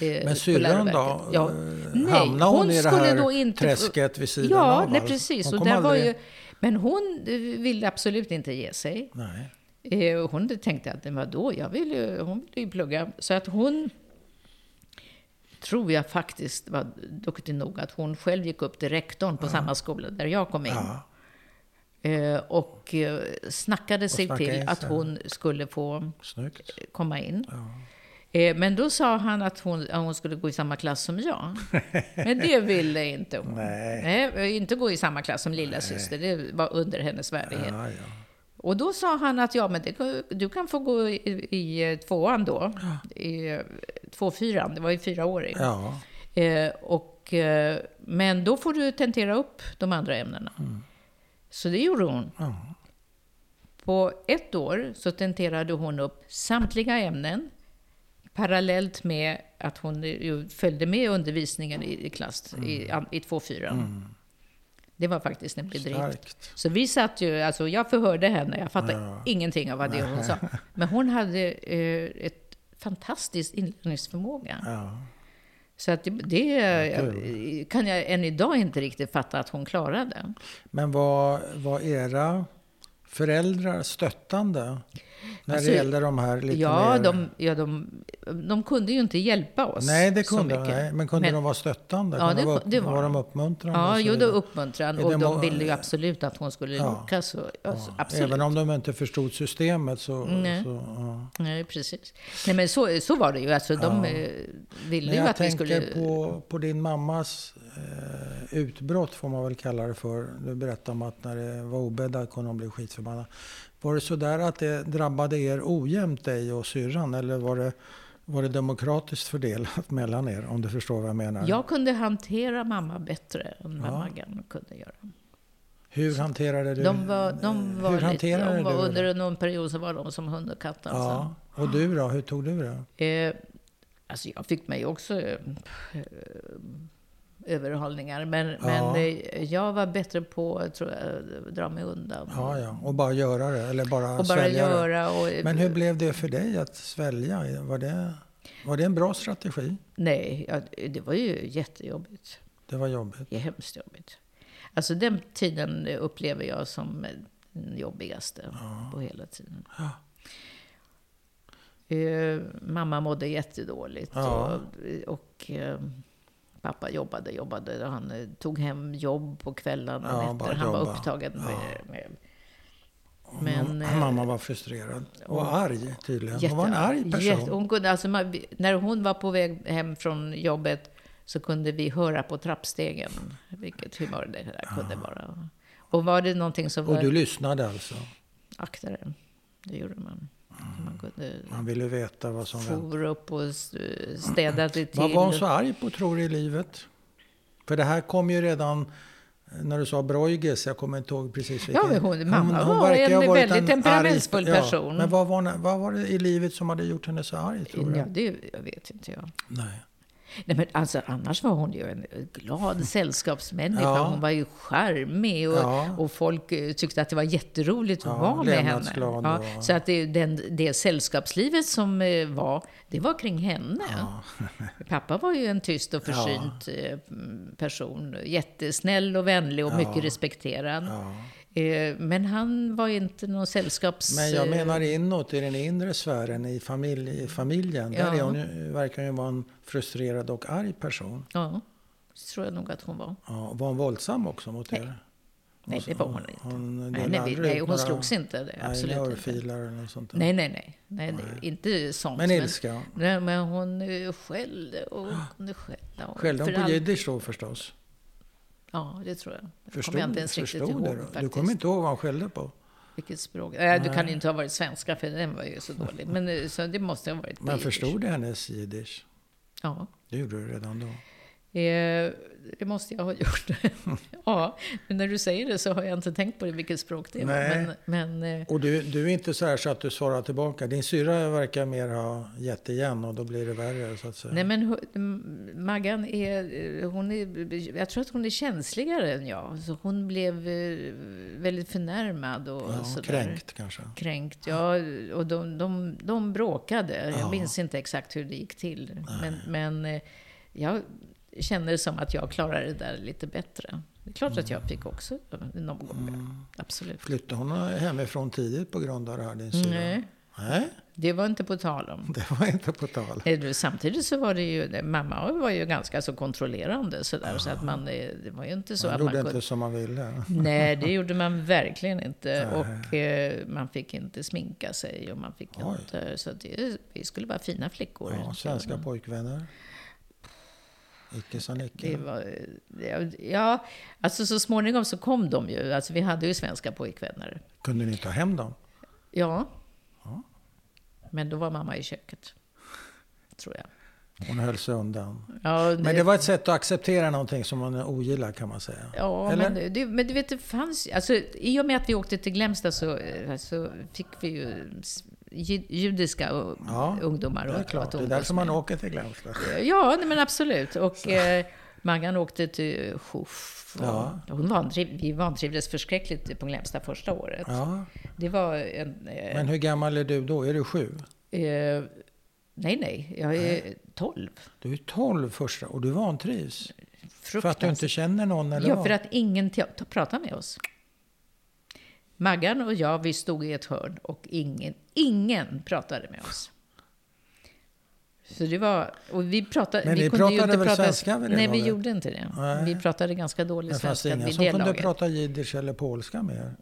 men
på
syrran då?
läroverket. Ja.
Eh,
Nej,
Hamnade hon, i det
skulle
här
då inte få-
träsket vid sidan av?
Ja, nej,
alltså?
precis.
Hon
Och
kom
där var
aldrig-
ju, men hon eh, ville absolut inte ge sig.
Nej.
Eh, och Hon tänkte att men vadå, jag vill ju, hon ville ju plugga. Så att hon tror jag faktiskt var duktig nog att hon själv gick upp till rektorn på samma skola där jag kom in.
Ja.
Eh, Och eh, snackade sig
snackade
till
in
att
sig.
hon skulle få
Snyggt.
komma in.
Ja.
Eh, Men då sa han att hon, att hon skulle gå i samma klass som jag. Men det ville inte hon.
Nej.
Nej, eh, inte gå i samma klass som lilla syster. det var under hennes värdighet.
Ja, ja.
Och då sa han att ja, men det, du kan få gå i, i eh, tvåan då. I, eh, tvåfyran, det var ju fyraårig.
ja.
Eh, och, eh, men då får du tentera upp de andra ämnena.
Mm.
Så det gjorde hon.
Ja.
På ett år så tenterade hon upp samtliga ämnen parallellt med att hon ju följde med undervisningen i, i klass i,
Mm.
an- i 2-4. Det var faktiskt en bedrift.
Starkt.
Så vi satt ju, alltså jag förhörde henne, jag fattade
Ja.
ingenting av vad det hon sa. Men hon hade eh, ett fantastiskt inlärningsförmåga.
Ja.
Så att det, det eh, kan jag än idag inte riktigt fatta att hon klarade.
Men var, var era föräldrar stöttande när
Alltså,
det gällde de här lite
Ja,
mer...
de, ja de, de kunde ju inte hjälpa oss
Nej, det
så
kunde de.
mycket.
nej. Men kunde
Men-
de vara stöttande?
Ja,
kunde de
det
vara
ku- det var
var
de.
de uppmuntrande? och
Ja,
så
jo, då
vidare?
uppmuntran.
Är
Och
Alltså, det
de
må-
ville ju absolut att hon skulle
Ja.
lyckas. Så, alltså, absolut. Mm,
Även om de inte förstod systemet så...
Nej.
så ja.
Nej, precis. Nej, men så, så var det ju. Alltså, de eh, ville
Men
ju
jag
att vi
tänker
skulle...
på, på din mammas eh, utbrott, får man väl kalla det för. Du berättade om att när det var obäddat kunde de bli skitförbannad. Var det sådär att det drabbade er ojämnt, dig och syrran? Eller var det, var det demokratiskt fördelat mellan er? Om du förstår vad jag menar.
Jag kunde hantera mamma bättre än vad Maggan kunde göra.
Hur hanterade du
De var, de var,
Hur
lite,
hanterade
de var
du det?
under någon period så var de som hund och katt. Alltså.
Ja. Och du då? Hur tog du det?
Eh, alltså jag fick mig också eh, överhållningar. Men, men eh, jag var bättre på tror jag, att dra mig undan.
Ja, ja. Och bara göra det? Eller bara
och bara
svälja det?
göra. Och,
Men hur blev det för dig att svälja? Var det, var det en bra strategi?
Nej, jag, det var ju jättejobbigt.
Det var jobbigt.
Det är hemskt jobbigt. Alltså den tiden upplever jag som den jobbigaste på hela tiden. Eh, mamma mådde jättedåligt
Ja.
och, och eh, pappa jobbade, jobbade. Han eh, tog hem jobb på kvällarna
Ja,
och nätter.
bara
Han var
jobba.
upptagen med... med
Men,
men, eh,
mamma var frustrerad och arg tydligen.
jätte-
hon var en arg person.
jätte- hon kunde, alltså, man, när hon var på väg hem från jobbet så kunde vi höra på trappstegen vilket humör det där kunde vara. Och var det någonting som
Ah. och
var...
du lyssnade alltså?
Akta dig. Det gjorde man. Man kunde
Man ville veta vad som hände.
for upp och s- städa det till.
Vad var hon så arg på tror du i livet? För det här kom ju redan eh, när du sa Broiges, jag kommer inte ihåg precis vilken.
Ja, men hon- mamma var
verkar ju ha
en
varit
väldigt temperamentsfull
arg-
person.
Men vad var, vad var det i livet som hade gjort henne så arg tror du?
Ja, det vet inte jag.
Nej.
Nej, men alltså, annars var hon ju en glad sällskapsmänniska.
Mm. Ja.
Hon var ju charmig och,
Ja.
och folk eh, tyckte att det var jätteroligt att
Ja,
vara med henne.
levnadsglad och-
så att det, den, det sällskapslivet som eh, var, det var kring henne. Pappa var ju en tyst och försynt eh, person. Jättesnäll och vänlig och mycket respekterad. Eh, Men han var ju inte någon sällskaps...
Men jag menar inåt, i den inre sfären, i, familj, i familjen. Där
Ja.
är hon, ju- verkar hon ju vara en frustrerad och arg person.
Ja, det tror jag nog att hon var.
Ja, var hon våldsam också mot er? Alltså,
Nej, det var hon inte.
Hon
Nej,
delade
nej, vi,
aldrig
nej
ut
hon
några-
slogs inte. Det,
Nej,
absolut
inga
inte.
örfilar eller något sånt där.
Nej, nej, nej. nej, det, inte sånt.
Men ilska.
Nej, men hon eh, skällde och hon kunde skälla. och-
Ah. Skällde hon
för
på
allt-
jiddisch då förstås?
Ja, det tror jag. Det
Förstod,
kommer jag inte ens riktigt
förstod
ihåg
det då? Du
faktiskt.
kommer inte ihåg vad hon skällde på?
Vilket språk. Nej, du kan ju inte ha varit svenska för den var ju så dålig. Men eh, så det måste ha varit på
Men
jiddisch.
förstod du hennes jiddisch?
Ja.
Det gjorde du redan då.
Eh, Det måste jag ha gjort. ja, men när du säger det så har jag inte tänkt på det, vilket språk det var.
Nej.
Men, men eh,
Och du, du är inte så här så att du svarar tillbaka? Din syra verkar mer ha gett igen och då blir det värre så att säga.
Nej men hu- m- Maggan är, eh, hon är, jag tror att hon är känsligare än jag. Så hon blev eh, väldigt förnärmad och
ja,
sådär.
kränkt kanske?
Kränkt, ja. Och de, de, de bråkade.
Ja.
Jag minns inte exakt hur det gick till. Men, men eh, jag känner som att jag klarade det där lite bättre. Det är klart att
Mm.
jag fick också en omgång. Absolut.
Flyttade hon hemifrån tidigt på grund av det här, din syra?
Nej,
Nej,
Det var inte på tal om.
det var inte på tal.
Eh, Samtidigt så var det ju, mamma var ju ganska så kontrollerande sådär, så att man, eh, det var ju inte så
Ah. Man
att man
gjorde
kunde...
inte som man ville.
Nej, det gjorde man verkligen inte. Och eh, man fick inte sminka sig och man fick
Oj.
inte... Så att det, vi skulle vara fina flickor.
Ja, svenska pojkvänner. Icke sa
Det
Nicke.
var, ja, ja, alltså så småningom så kom de ju. Alltså vi hade ju svenska pojkvänner.
Kunde ni ta hem dem?
Ja. Men då var mamma i köket. Tror jag.
Hon höll sig undan.
Ja,
Men det var ett sätt att acceptera någonting som man ogillar kan man säga.
Ja,
Eller?
men, det, men du vet, det fanns alltså, I och med att vi åkte till Glämsta så, eh, så fick vi ju s- ju- judiska och,
Ja,
ungdomar
Det är
att-
klart,
att
det är
umgås
därför man
med.
åker till Glämsta.
Ja, nej, men absolut. Och eh, Maggan åkte till Schuff. och-
Ja.
Hon vantriv, vi vantrivdes förskräckligt på Glämsta första året.
Ja.
Det var en... Eh,
Men hur gammal är du då? Är du sju?
eh, nej, nej. Jag är 12.
Du är tolv första och du vantrivs. För att du inte känner någon eller
Ja,
vad?
för att ingen te- ta- pratade med oss. Maggan och jag, vi stod i ett hörn och ingen, ingen pratade med oss. Så det var, och vi pratade,
Men
vi
ni
kunde ju
pratade
inte
väl
prata,
svenska vid det
Nej, vi
laget?
gjorde inte det.
Nej.
Vi pratade ganska dålig
Det fanns
svenska
inga
vid
som
det
kunde
laget.
prata jiddisch eller polska med er?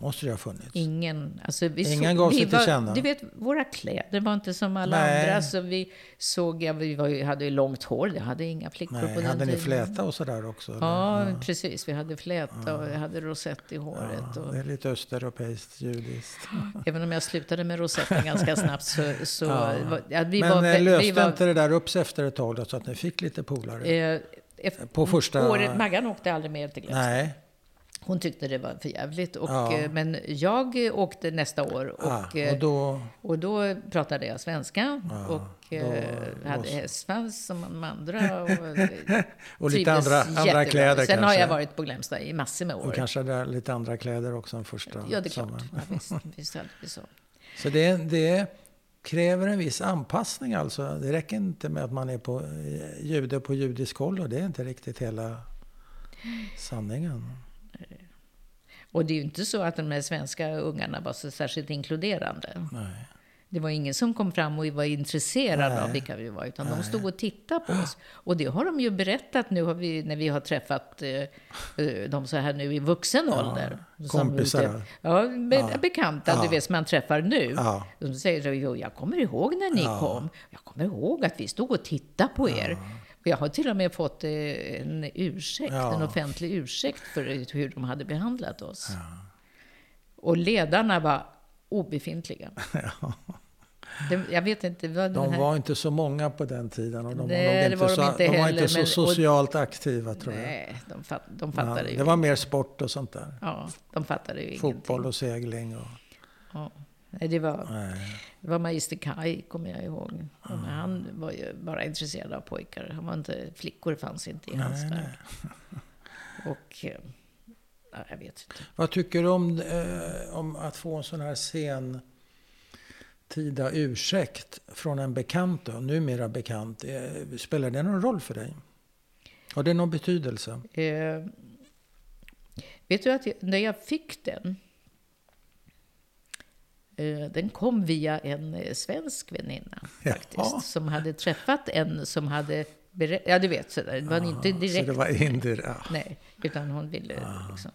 Måste det ha funnits?
Ingen, alltså vi
Ingen
såg,
gav
vi
sig till
var,
känna.
Du vet, våra kläder var inte som alla
Nej.
andra. Så vi såg, ja, vi var, ju- hade ju långt hår, det hade inga flickor på
Nej,
den
hade ni
tiden.
fläta och sådär också? eller?
Ja, precis. Vi hade fläta och vi hade rosett i håret.
Ja,
Och,
det är lite östeuropeiskt judiskt.
Även om jag slutade med rosetten ganska snabbt så... så var- ja, vi
Men eh,
vä-
löste
vi var,
inte det där upp sig efter ett tag då, så att ni fick lite polare?
eh, efter,
På första...
året, Maggan åkte aldrig mer till Glämsta.
Nej,
Hon tyckte det var för jävligt. Och,
Ja.
eh, Men jag eh, åkte nästa år och,
ah,
eh,
och då...
och då pratade jag svenska och eh,
då
hade
måste-
hästsvans som de andra. Och, eh,
Och lite
trivdes
andra,
jättebra.
andra kläder
Sen
kanske?
har jag varit på Glämsta i massor med år.
Och kanske där, lite andra kläder också än första
ja, det är klart.
sommaren.
Ja, visst, visst hade vi så.
Så det, det kräver en viss anpassning alltså. Det räcker inte med att man är på eh, jude på judisk håll och det är inte riktigt hela sanningen.
Och det är ju inte så att de här svenska ungarna var så särskilt inkluderande.
Nej.
Det var ingen som kom fram och var intresserad
Nej.
av vilka vi var, utan de stod och tittade på oss. Och det har de ju berättat nu har vi, när vi har träffat eh, eh, dem så här nu i vuxen ålder. Som
kompisar,
ute- Ja, be, bekanta, du vet, som man träffar nu.
Ja.
De säger så, "Jo, jag kommer ihåg när ni kom. Jag kommer ihåg att vi stod och tittade på er. Och jag har till och med fått eh, en ursäkt,
Ja.
en offentlig ursäkt för hur de hade behandlat oss. Och ledarna var obefintliga.
Ja.
Det, jag vet inte vad den
De
här...
var inte så många på den tiden och de,
Nej,
var, nog
det
inte
var de
så,
inte
de var
heller,
inte så
men- och-
socialt aktiva tror jag.
Nej, de, fatt, de
Ja,
fattade ju
det var mer sport och sånt där.
Ja, de fattade ju
Fotboll och segling och...
ingenting. Ja. Nej, det var,
Nej.
det var magister Kai, kommer jag ihåg.
Ah.
Och Han var ju bara intresserad av pojkar. Han var inte, flickor fanns inte i hans värld. Och... eh, Ja, jag vet inte.
Vad tycker du om, eh, om att få en sån här sen tida ursäkt från en bekant då, numera bekant? Eh, Spelar det någon roll för dig? Har det någon betydelse?
Eh, vet du att jag, när jag fick den, eh, den kom via en eh, svensk väninna faktiskt,
Jaha.
som hade träffat en som hade, berä- ja du vet sådär, det var inte
Ah, Så
direkt,
det var indir. Ja.
nej, utan hon ville
Ah.
liksom.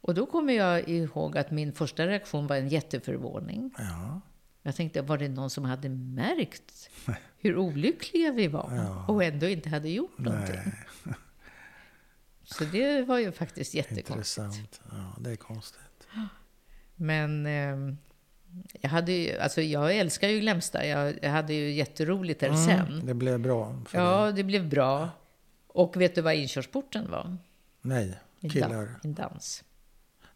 Och då kommer jag ihåg att min första reaktion var en jätteförvåning.
Ja.
Jag tänkte, var det någon som hade märkt hur olyckliga vi var och ändå inte hade gjort någonting?
Nej,
Så det var ju faktiskt jättekonstigt.
intressant. Ja, det är konstigt.
Men ehm, jag, hade ju, alltså jag älskar ju Glämsta. Jag, jag hade ju jätteroligt där sen.
Det blev bra Mm. för dig.
Ja, det blev bra. Och vet du vad inkörsporten var?
Nej,
En
killar.
dan- En dans.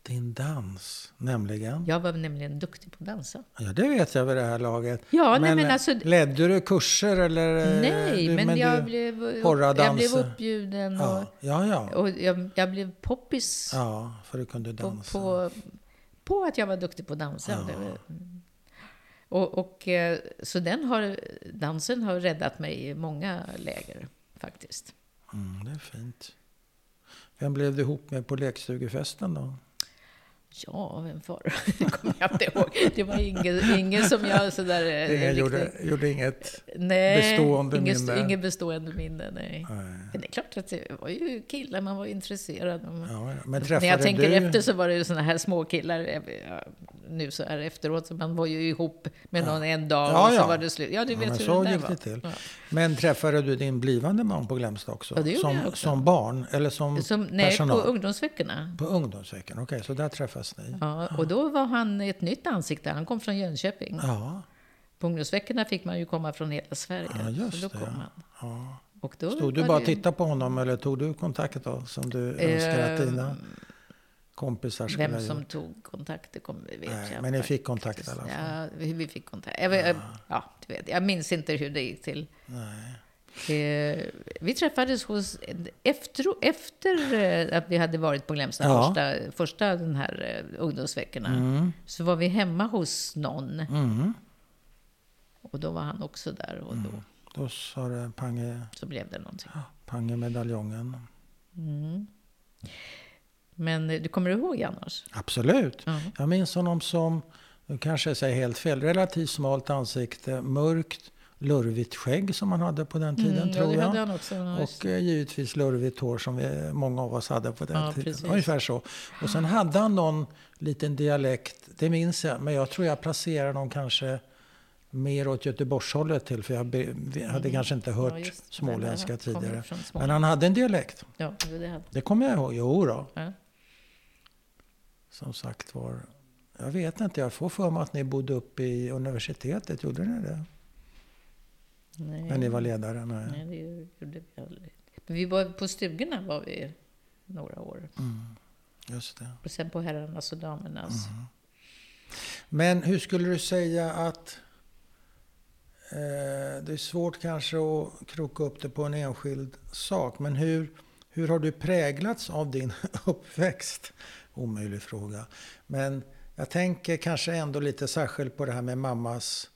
Din dans, nämligen.
Jag var nämligen duktig på att dansa.
Ja, det vet jag vid det här laget. eh,
Ja, nej, men alltså-
Ledde du kurser eller? eh,
Nej,
du,
men, jag,
du-
blev, upp-
porradans.
jag blev uppbjuden
Ja, ja. ja.
och, och jag, jag blev poppis
Ja, för du kunde
på,
dansa.
på, på att jag var duktig på att dansa. Det var- Och, och, eh, så den har, dansen har räddat mig i många läger faktiskt. Eh,
Mm, det är fint. Vem blev du ihop med på lekstugefesten då?
Ja, vem var det? kommer jag inte ihåg. Det var ingen, ingen som jag sådär... eh,
Ingen
riktigt-
gjorde, gjorde inget.
nej,
bestående
ingen,
minne.
Ingen bestående minne, nej.
Nej.
Men det är klart att det var ju killar man var intresserad av.
Ja, ja. Men
När
träffade
jag tänker
du...
efter så var det ju såna här små killar eh, ja, nu så här efteråt. Så man var ju ihop med någon en dag
Ja,
och så
ja.
var det slut. Ja, du
Ja,
vet
men
hur
så
det där
gick
var.
det till.
Ja.
Men träffade du din blivande man på Glämsta också?
Ja, det gjorde
som,
jag också.
som barn? Eller som,
Som, nej, på
personal?
ungdomsveckorna.
På ungdomsveckan? Okej, så där träffas ni?
Ja, och då var han ett nytt ansikte. Han kom från Jönköping.
Ja,
På ungdomsveckorna fick man ju komma från hela Sverige.
Ja, just
så då
det,
kom
ja.
han.
ja.
Och då
Stod du
var
bara
det
och
ju-
tittade på honom eller tog du kontakt då? Som du
Eh,
önskar att dina kompisar skulle
Vem
ha
som
gjort?
tog kontakt, det kommer vi vet
Nej,
jag
men ni
faktiskt.
fick kontakt i alla fall?
Ja, vi vi fick kontakt. Jag, vet- ja, du vet, jag minns inte hur det gick till.
Nej.
Eh, vi träffades hos, efter, efter eh, att vi hade varit på Glämsta,
Ja.
första, första den här eh, ungdomsveckorna, så var vi hemma hos någon.
Mm.
Och då var han också där och då
Då sa det pang i,
så blev det någonting. Mm.
pang i medaljongen.
Men eh, du kommer ihåg Janos?
Absolut.
Ja.
Jag minns honom som, nu kanske jag säger helt fel, relativt smalt ansikte, mörkt, lurvigt skägg som han hade på den tiden tror
Mm, ja, det
jag.
hade han också. Ja, just-
Och eh, givetvis lurvigt hår som vi, många av oss hade på den
Ja,
tiden.
precis.
Ungefär så. Och sen hade han någon liten dialekt, det minns jag, men jag tror jag placerar någon kanske mer åt Göteborgshållet till, för jag be, vi hade kanske inte
Mm. Ja,
hört
just det.
småländska
Han kommer
tidigare.
från Småland.
Men han hade en dialekt,
Ja, det hade han.
det kommer jag ihåg. Jo då.
Ja.
som sagt var. Jag vet inte, jag får för mig att ni bodde uppe i universitetet. Gjorde ni det?
Nej.
När ni var ledare? Nej.
Nej, det gjorde vi aldrig. Men vi var, på stugorna var vi några år.
Mm. Just det.
Och sen på herrarnas och damernas.
Mm. Men hur skulle du säga att... Eh, det är svårt kanske att kroka upp det på en enskild sak. Men hur, hur har du präglats av din uppväxt? Omöjlig fråga. Men jag tänker kanske ändå lite särskilt på det här med mammas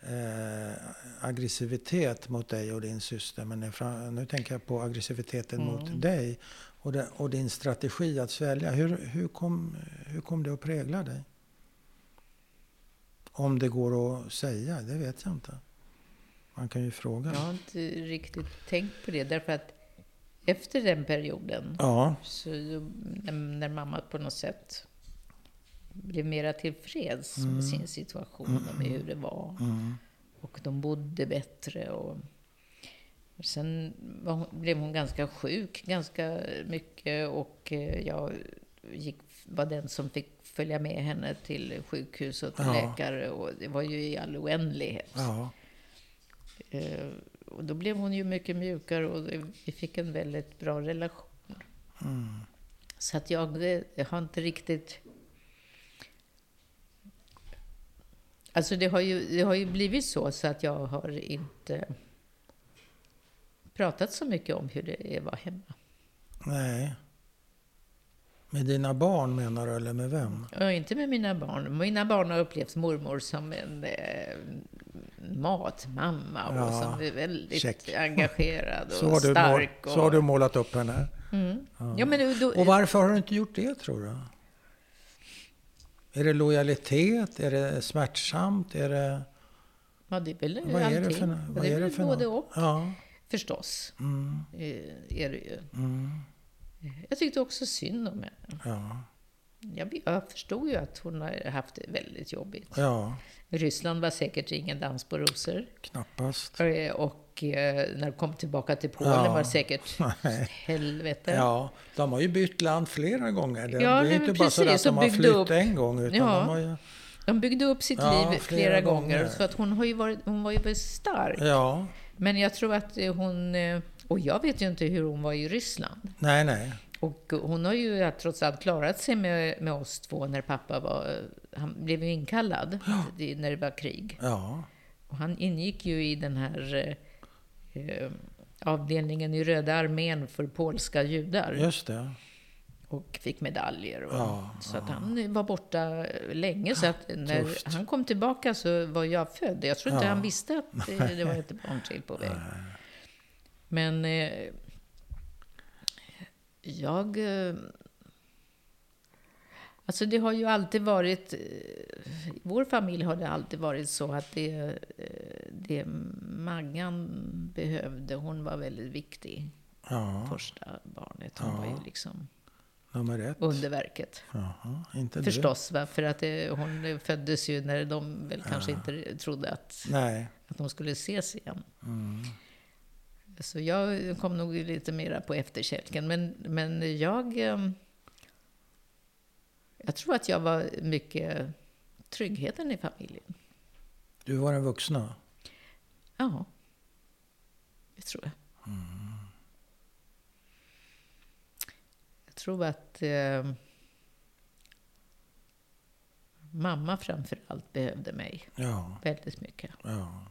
eh, aggressivitet mot dig och din syster. Men nu fra- nu tänker jag på aggressiviteten mot dig och, det, och din strategi att svälja. Hur, hur, kom, hur kom det att prägla dig? Om det går att säga, det vet jag inte. Man kan ju fråga.
Jag har inte riktigt tänkt på det. Därför att efter den perioden,
Ja,
så, när, när mamma på något sätt blev mera tillfreds med sin situation och med hur det var.
Mm.
Och de bodde bättre. Och, och sen var hon, blev hon ganska sjuk ganska mycket och eh, jag gick, var den som fick följa med henne till sjukhus och till
Ja.
läkare. Och det var ju i all oändlighet.
ja.
Eh, och då blev hon ju mycket mjukare och det- vi fick en väldigt bra relation.
Mm.
Så att jag, det, jag har inte riktigt... Alltså det har, ju, det har ju blivit så, så att jag har inte pratat så mycket om hur det var hemma.
Nej. Med dina barn menar du, eller med vem?
Och inte med mina barn. Mina barn har upplevt mormor som en eh, matmamma och
Ja,
som är väldigt
check.
engagerad och
Så har, du mål,
stark. och...
så har du målat upp henne.
Ja, men då,
Och varför har du inte gjort det, tror du? Är det lojalitet? Är det smärtsamt? Är det,
ja, det är väl
vad
allting.
är det för, nå-
Men
vad
det
är det
väl
för
både
nå-
och,
Ja.
förstås.
Mm,
eh, Är det ju.
mm,
Jag tyckte också synd om henne.
ja.
Jag, jag förstod ju att hon har haft det väldigt jobbigt.
ja,
Ryssland var säkert ingen dans på rosor.
knappast.
Eh, Och eh, när de kom tillbaka till Polen
Ja.
var det säkert
Nej.
helvete.
Ja, de har ju bytt land flera gånger. Det,
Ja,
det är
nej,
ju
men
inte bara så att
precis, och
de har
byggde
flytt
upp.
en gång. Utan
Ja.
de har ju,
De byggde upp sitt
Ja,
liv flera,
flera
gånger.
gånger.
Så att hon, har ju varit, hon var ju väldigt stark.
ja,
Men jag tror att eh, hon... eh, Och jag vet ju inte hur hon var i Ryssland.
nej, nej.
Och hon har ju trots allt klarat sig med, med oss två när pappa var... Han blev ju inkallad det- när det var krig.
Ja,
Och han ingick ju i den här eh, eh, avdelningen i Röda armén för polska judar.
just det.
Och fick medaljer. Och,
Ja,
så att han var borta länge. Så att när
Ah. tufft.
han kom tillbaka så var jag född. Jag tror inte
Ja.
han visste att eh, det var ett barn till på väg. Men eh, jag... eh, Alltså det har ju alltid varit, eh, i vår familj har det alltid varit så att det, eh, det Maggan behövde, hon var väldigt viktig.
Ja,
Första barnet, hon
Ja.
var ju liksom
nummer ett.
underverket.
Jaha, inte
Förstås, va? för att det, hon föddes ju när de väl kanske inte trodde att,
du. Nej.
att de skulle ses igen.
Mm.
Så jag kom nog lite mera på efterkälken. Men, men jag... eh, Jag tror att jag var mycket tryggheten i familjen.
Du var den vuxna.
Ja, det tror jag. Jag tror att eh, mamma framför allt behövde mig
Ja,
väldigt mycket.
ja.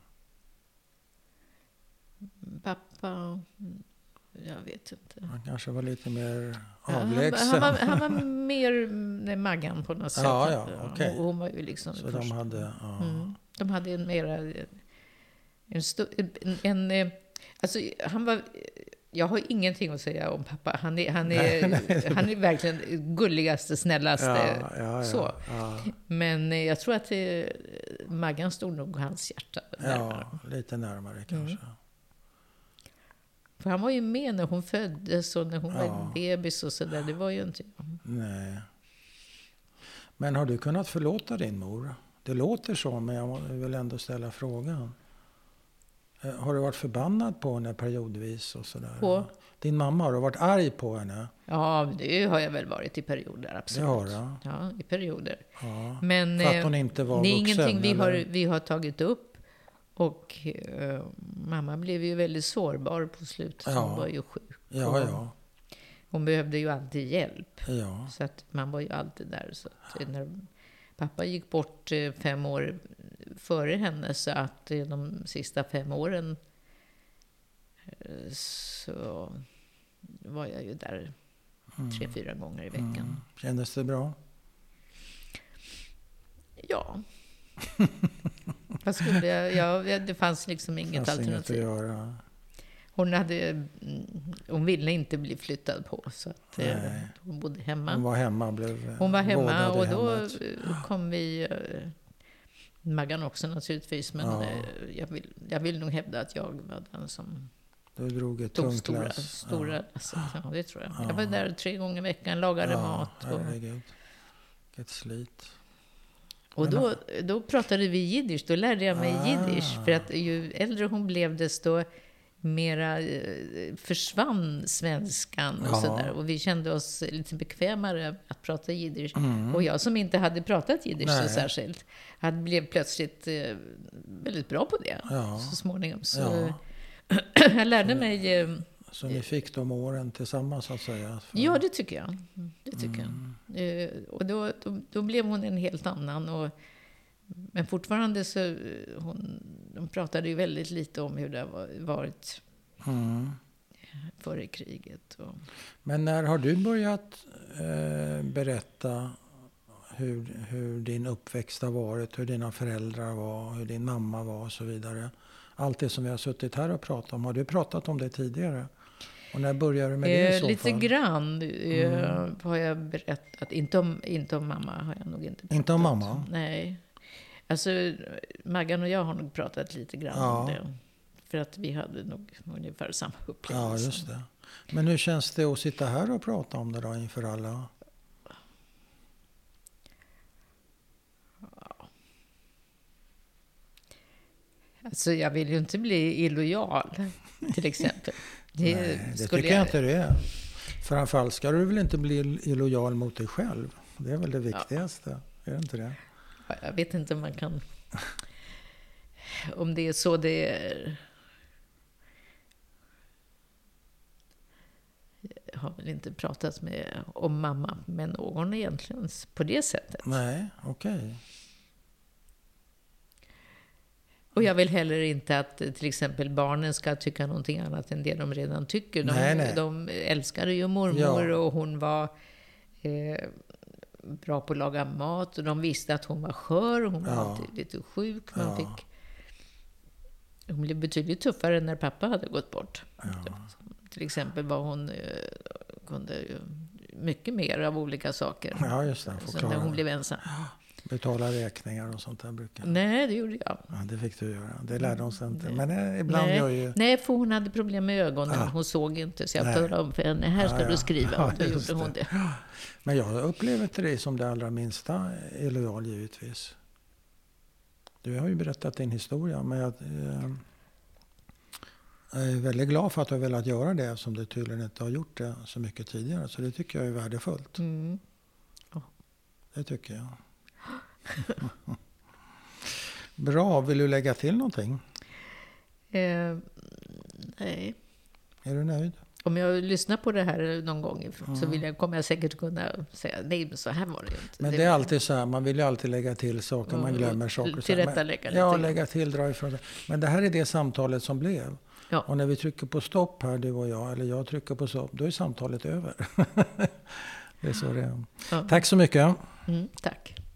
Pappa, mm, jag vet inte.
Han kanske var lite mer
Ja, han-
avlägsen.
Han, var, han var mer mm, Maggan på något sätt.
Ja, ja, okej.
hon, hon var ju liksom
så de
först.
hade... Ja.
mm. de hade en mera... En sto, en, en, eh, alltså, han var... Jag har ingenting att säga om pappa. Han är, han är,
Nej, nej.
Han är verkligen gulligaste, snällaste.
Ja, ja, ja,
så.
Ja,
Men eh, jag tror att det, Maggan stod nog hans hjärta. närmare.
ja, lite
Mm.
närmare kanske.
För han var ju med när hon föddes och när hon var
Ja.
en bebis och sådär. Det var ju inte jag.
Nej. Men har du kunnat förlåta din mor? Det låter så, men jag vill ändå ställa frågan. Eh, Har du varit förbannad på henne periodvis? Och sådär?
På?
Din mamma, har du varit arg på henne?
Ja, det har jag väl varit i perioder, absolut.
Det har du?
Ja, i perioder.
Ja.
Men
För att
eh,
hon inte var
det är
vuxen?
ingenting vi har,
eller?
vi har tagit upp. Och eh, mamma blev ju väldigt sårbar på slutet.
Ja.
Hon var ju sjuk.
Ja, ja.
Hon behövde ju alltid hjälp.
ja.
Så att man var ju alltid där. Så att eh, när pappa gick bort eh, fem år före henne, så att eh, de sista fem åren eh, så var jag ju där tre, fyra gånger i veckan.
Mm. Kändes det bra?
Ja. Vad skulle jag, jag, jag- det fanns liksom inget
Fanns
alternativ.
Inget att göra.
hon, hade, mm, hon ville inte bli flyttad på, så att, eh,
Nej.
hon bodde hemma.
Hon var hemma. Blev eh,
Hon var hemma
vårdad i
och då
hemmet.
eh, kom vi... eh, Maggan också naturligtvis, men
Ja.
eh, jag, vill, jag vill nog hävda att jag var den som
Du drog ett
tog
tungt
stora,
lass.
stora lasset. Ja, det tror jag. Jag var
Ja.
där tre gånger i veckan, lagade mat. Och,
herregud. Vilket slit.
Och då, då pratade vi jiddisch, då lärde jag mig
Ah.
jiddisch. För att ju äldre hon blev desto mera eh, försvann svenskan och
Ja.
sådär. Och vi kände oss lite bekvämare att prata jiddisch.
Mm.
Och jag som inte hade pratat jiddisch så
Nej.
särskilt, hade blev plötsligt eh, väldigt bra på det
Ja.
så småningom. Så
Ja. Mm.
jag lärde mig, eh,
Så ni fick de åren tillsammans så att säga? För-
ja det tycker jag. Det tycker
Mm.
jag. Eh, och då, då, då blev hon en helt annan. Och, men fortfarande så, eh, hon, de pratade ju väldigt lite om hur det har va- varit
Mm.
före kriget. Och,
Men när har du börjat eh, berätta hur, hur din uppväxt har varit, hur dina föräldrar var, hur din mamma var och så vidare? Allt det som vi har suttit här och pratat om, har du pratat om det tidigare? Och när började du med det i
eh,
så Mm.
lite
fall?
grann eh, har jag berättat, inte om, inte om mamma har jag nog inte
Inte om mamma?
Nej. Alltså, Maggan och jag har nog pratat lite grann om
Ja.
det. För att vi hade nog ungefär samma upplevelse.
Ja, just det. Men hur känns det att sitta här och prata om det då inför alla?
Alltså, jag vill ju inte bli illojal, till exempel. Det,
Nej, det
skulle
tycker jag inte det är. Framförallt ska du väl inte bli illojal mot dig själv? Det är väl det viktigaste? Är det inte det?
Jag vet inte om man kan... Om det är så det är... Jag har väl inte pratat med, om mamma med någon egentligen på det sättet.
Nej, okej.
Och jag vill heller inte att eh, till exempel barnen ska tycka någonting annat än det de redan tycker. De,
Nej, nej.
de älskade ju mormor
Ja.
och hon var eh, bra på att laga mat och de visste att hon var skör och hon var
Ja.
alltid lite sjuk. Man
Ja.
fick, hon blev betydligt tuffare när pappa hade gått bort.
Ja.
Till exempel var hon eh, kunde ju mycket mer av olika saker.
Ja, just det. Får
typ. Så när
klara
hon
det.
blev ensam.
Betala räkningar och sånt där brukar
Nej, det gjorde jag.
Ja, det fick du göra. Det lärde hon sig inte. Men eh, ibland
Nej.
gör ju...
Nej, för hon hade problem med ögonen.
Ja.
Hon såg inte. Så jag
Ah. Nej. Ah,
talade om för henne, här ska
Ja,
du
ja.
skriva.
Ja,
Då
just
gjorde hon det.
Men jag upplever inte dig som det allra minsta är lojal givetvis. Du har ju berättat din historia men jag, eh, jag är väldigt glad för att du har velat göra det eftersom du tydligen inte har gjort det så mycket tidigare. Så det tycker jag är värdefullt.
Mm.
Det tycker jag. Bra, vill du lägga till någonting?
Eh, nej.
Är du nöjd?
Om jag lyssnar på det här någon gång så vill jag, kommer jag säkert kunna säga nej, men så här var det liksom ju
Ah.
inte.
Men det är alltid så här, man vill ju alltid lägga till saker, man
Mm,
glömmer saker. så här.
tillrättalägga
Men-
lite
Ja,
grann.
lägga till, dra ifrån sig. Men det här är det samtalet som blev.
Ja.
Och när vi trycker på stopp här, du och jag, eller jag trycker på stopp, då är samtalet över. det är så det är.
Ja.
Tack så mycket.
Mm, tack.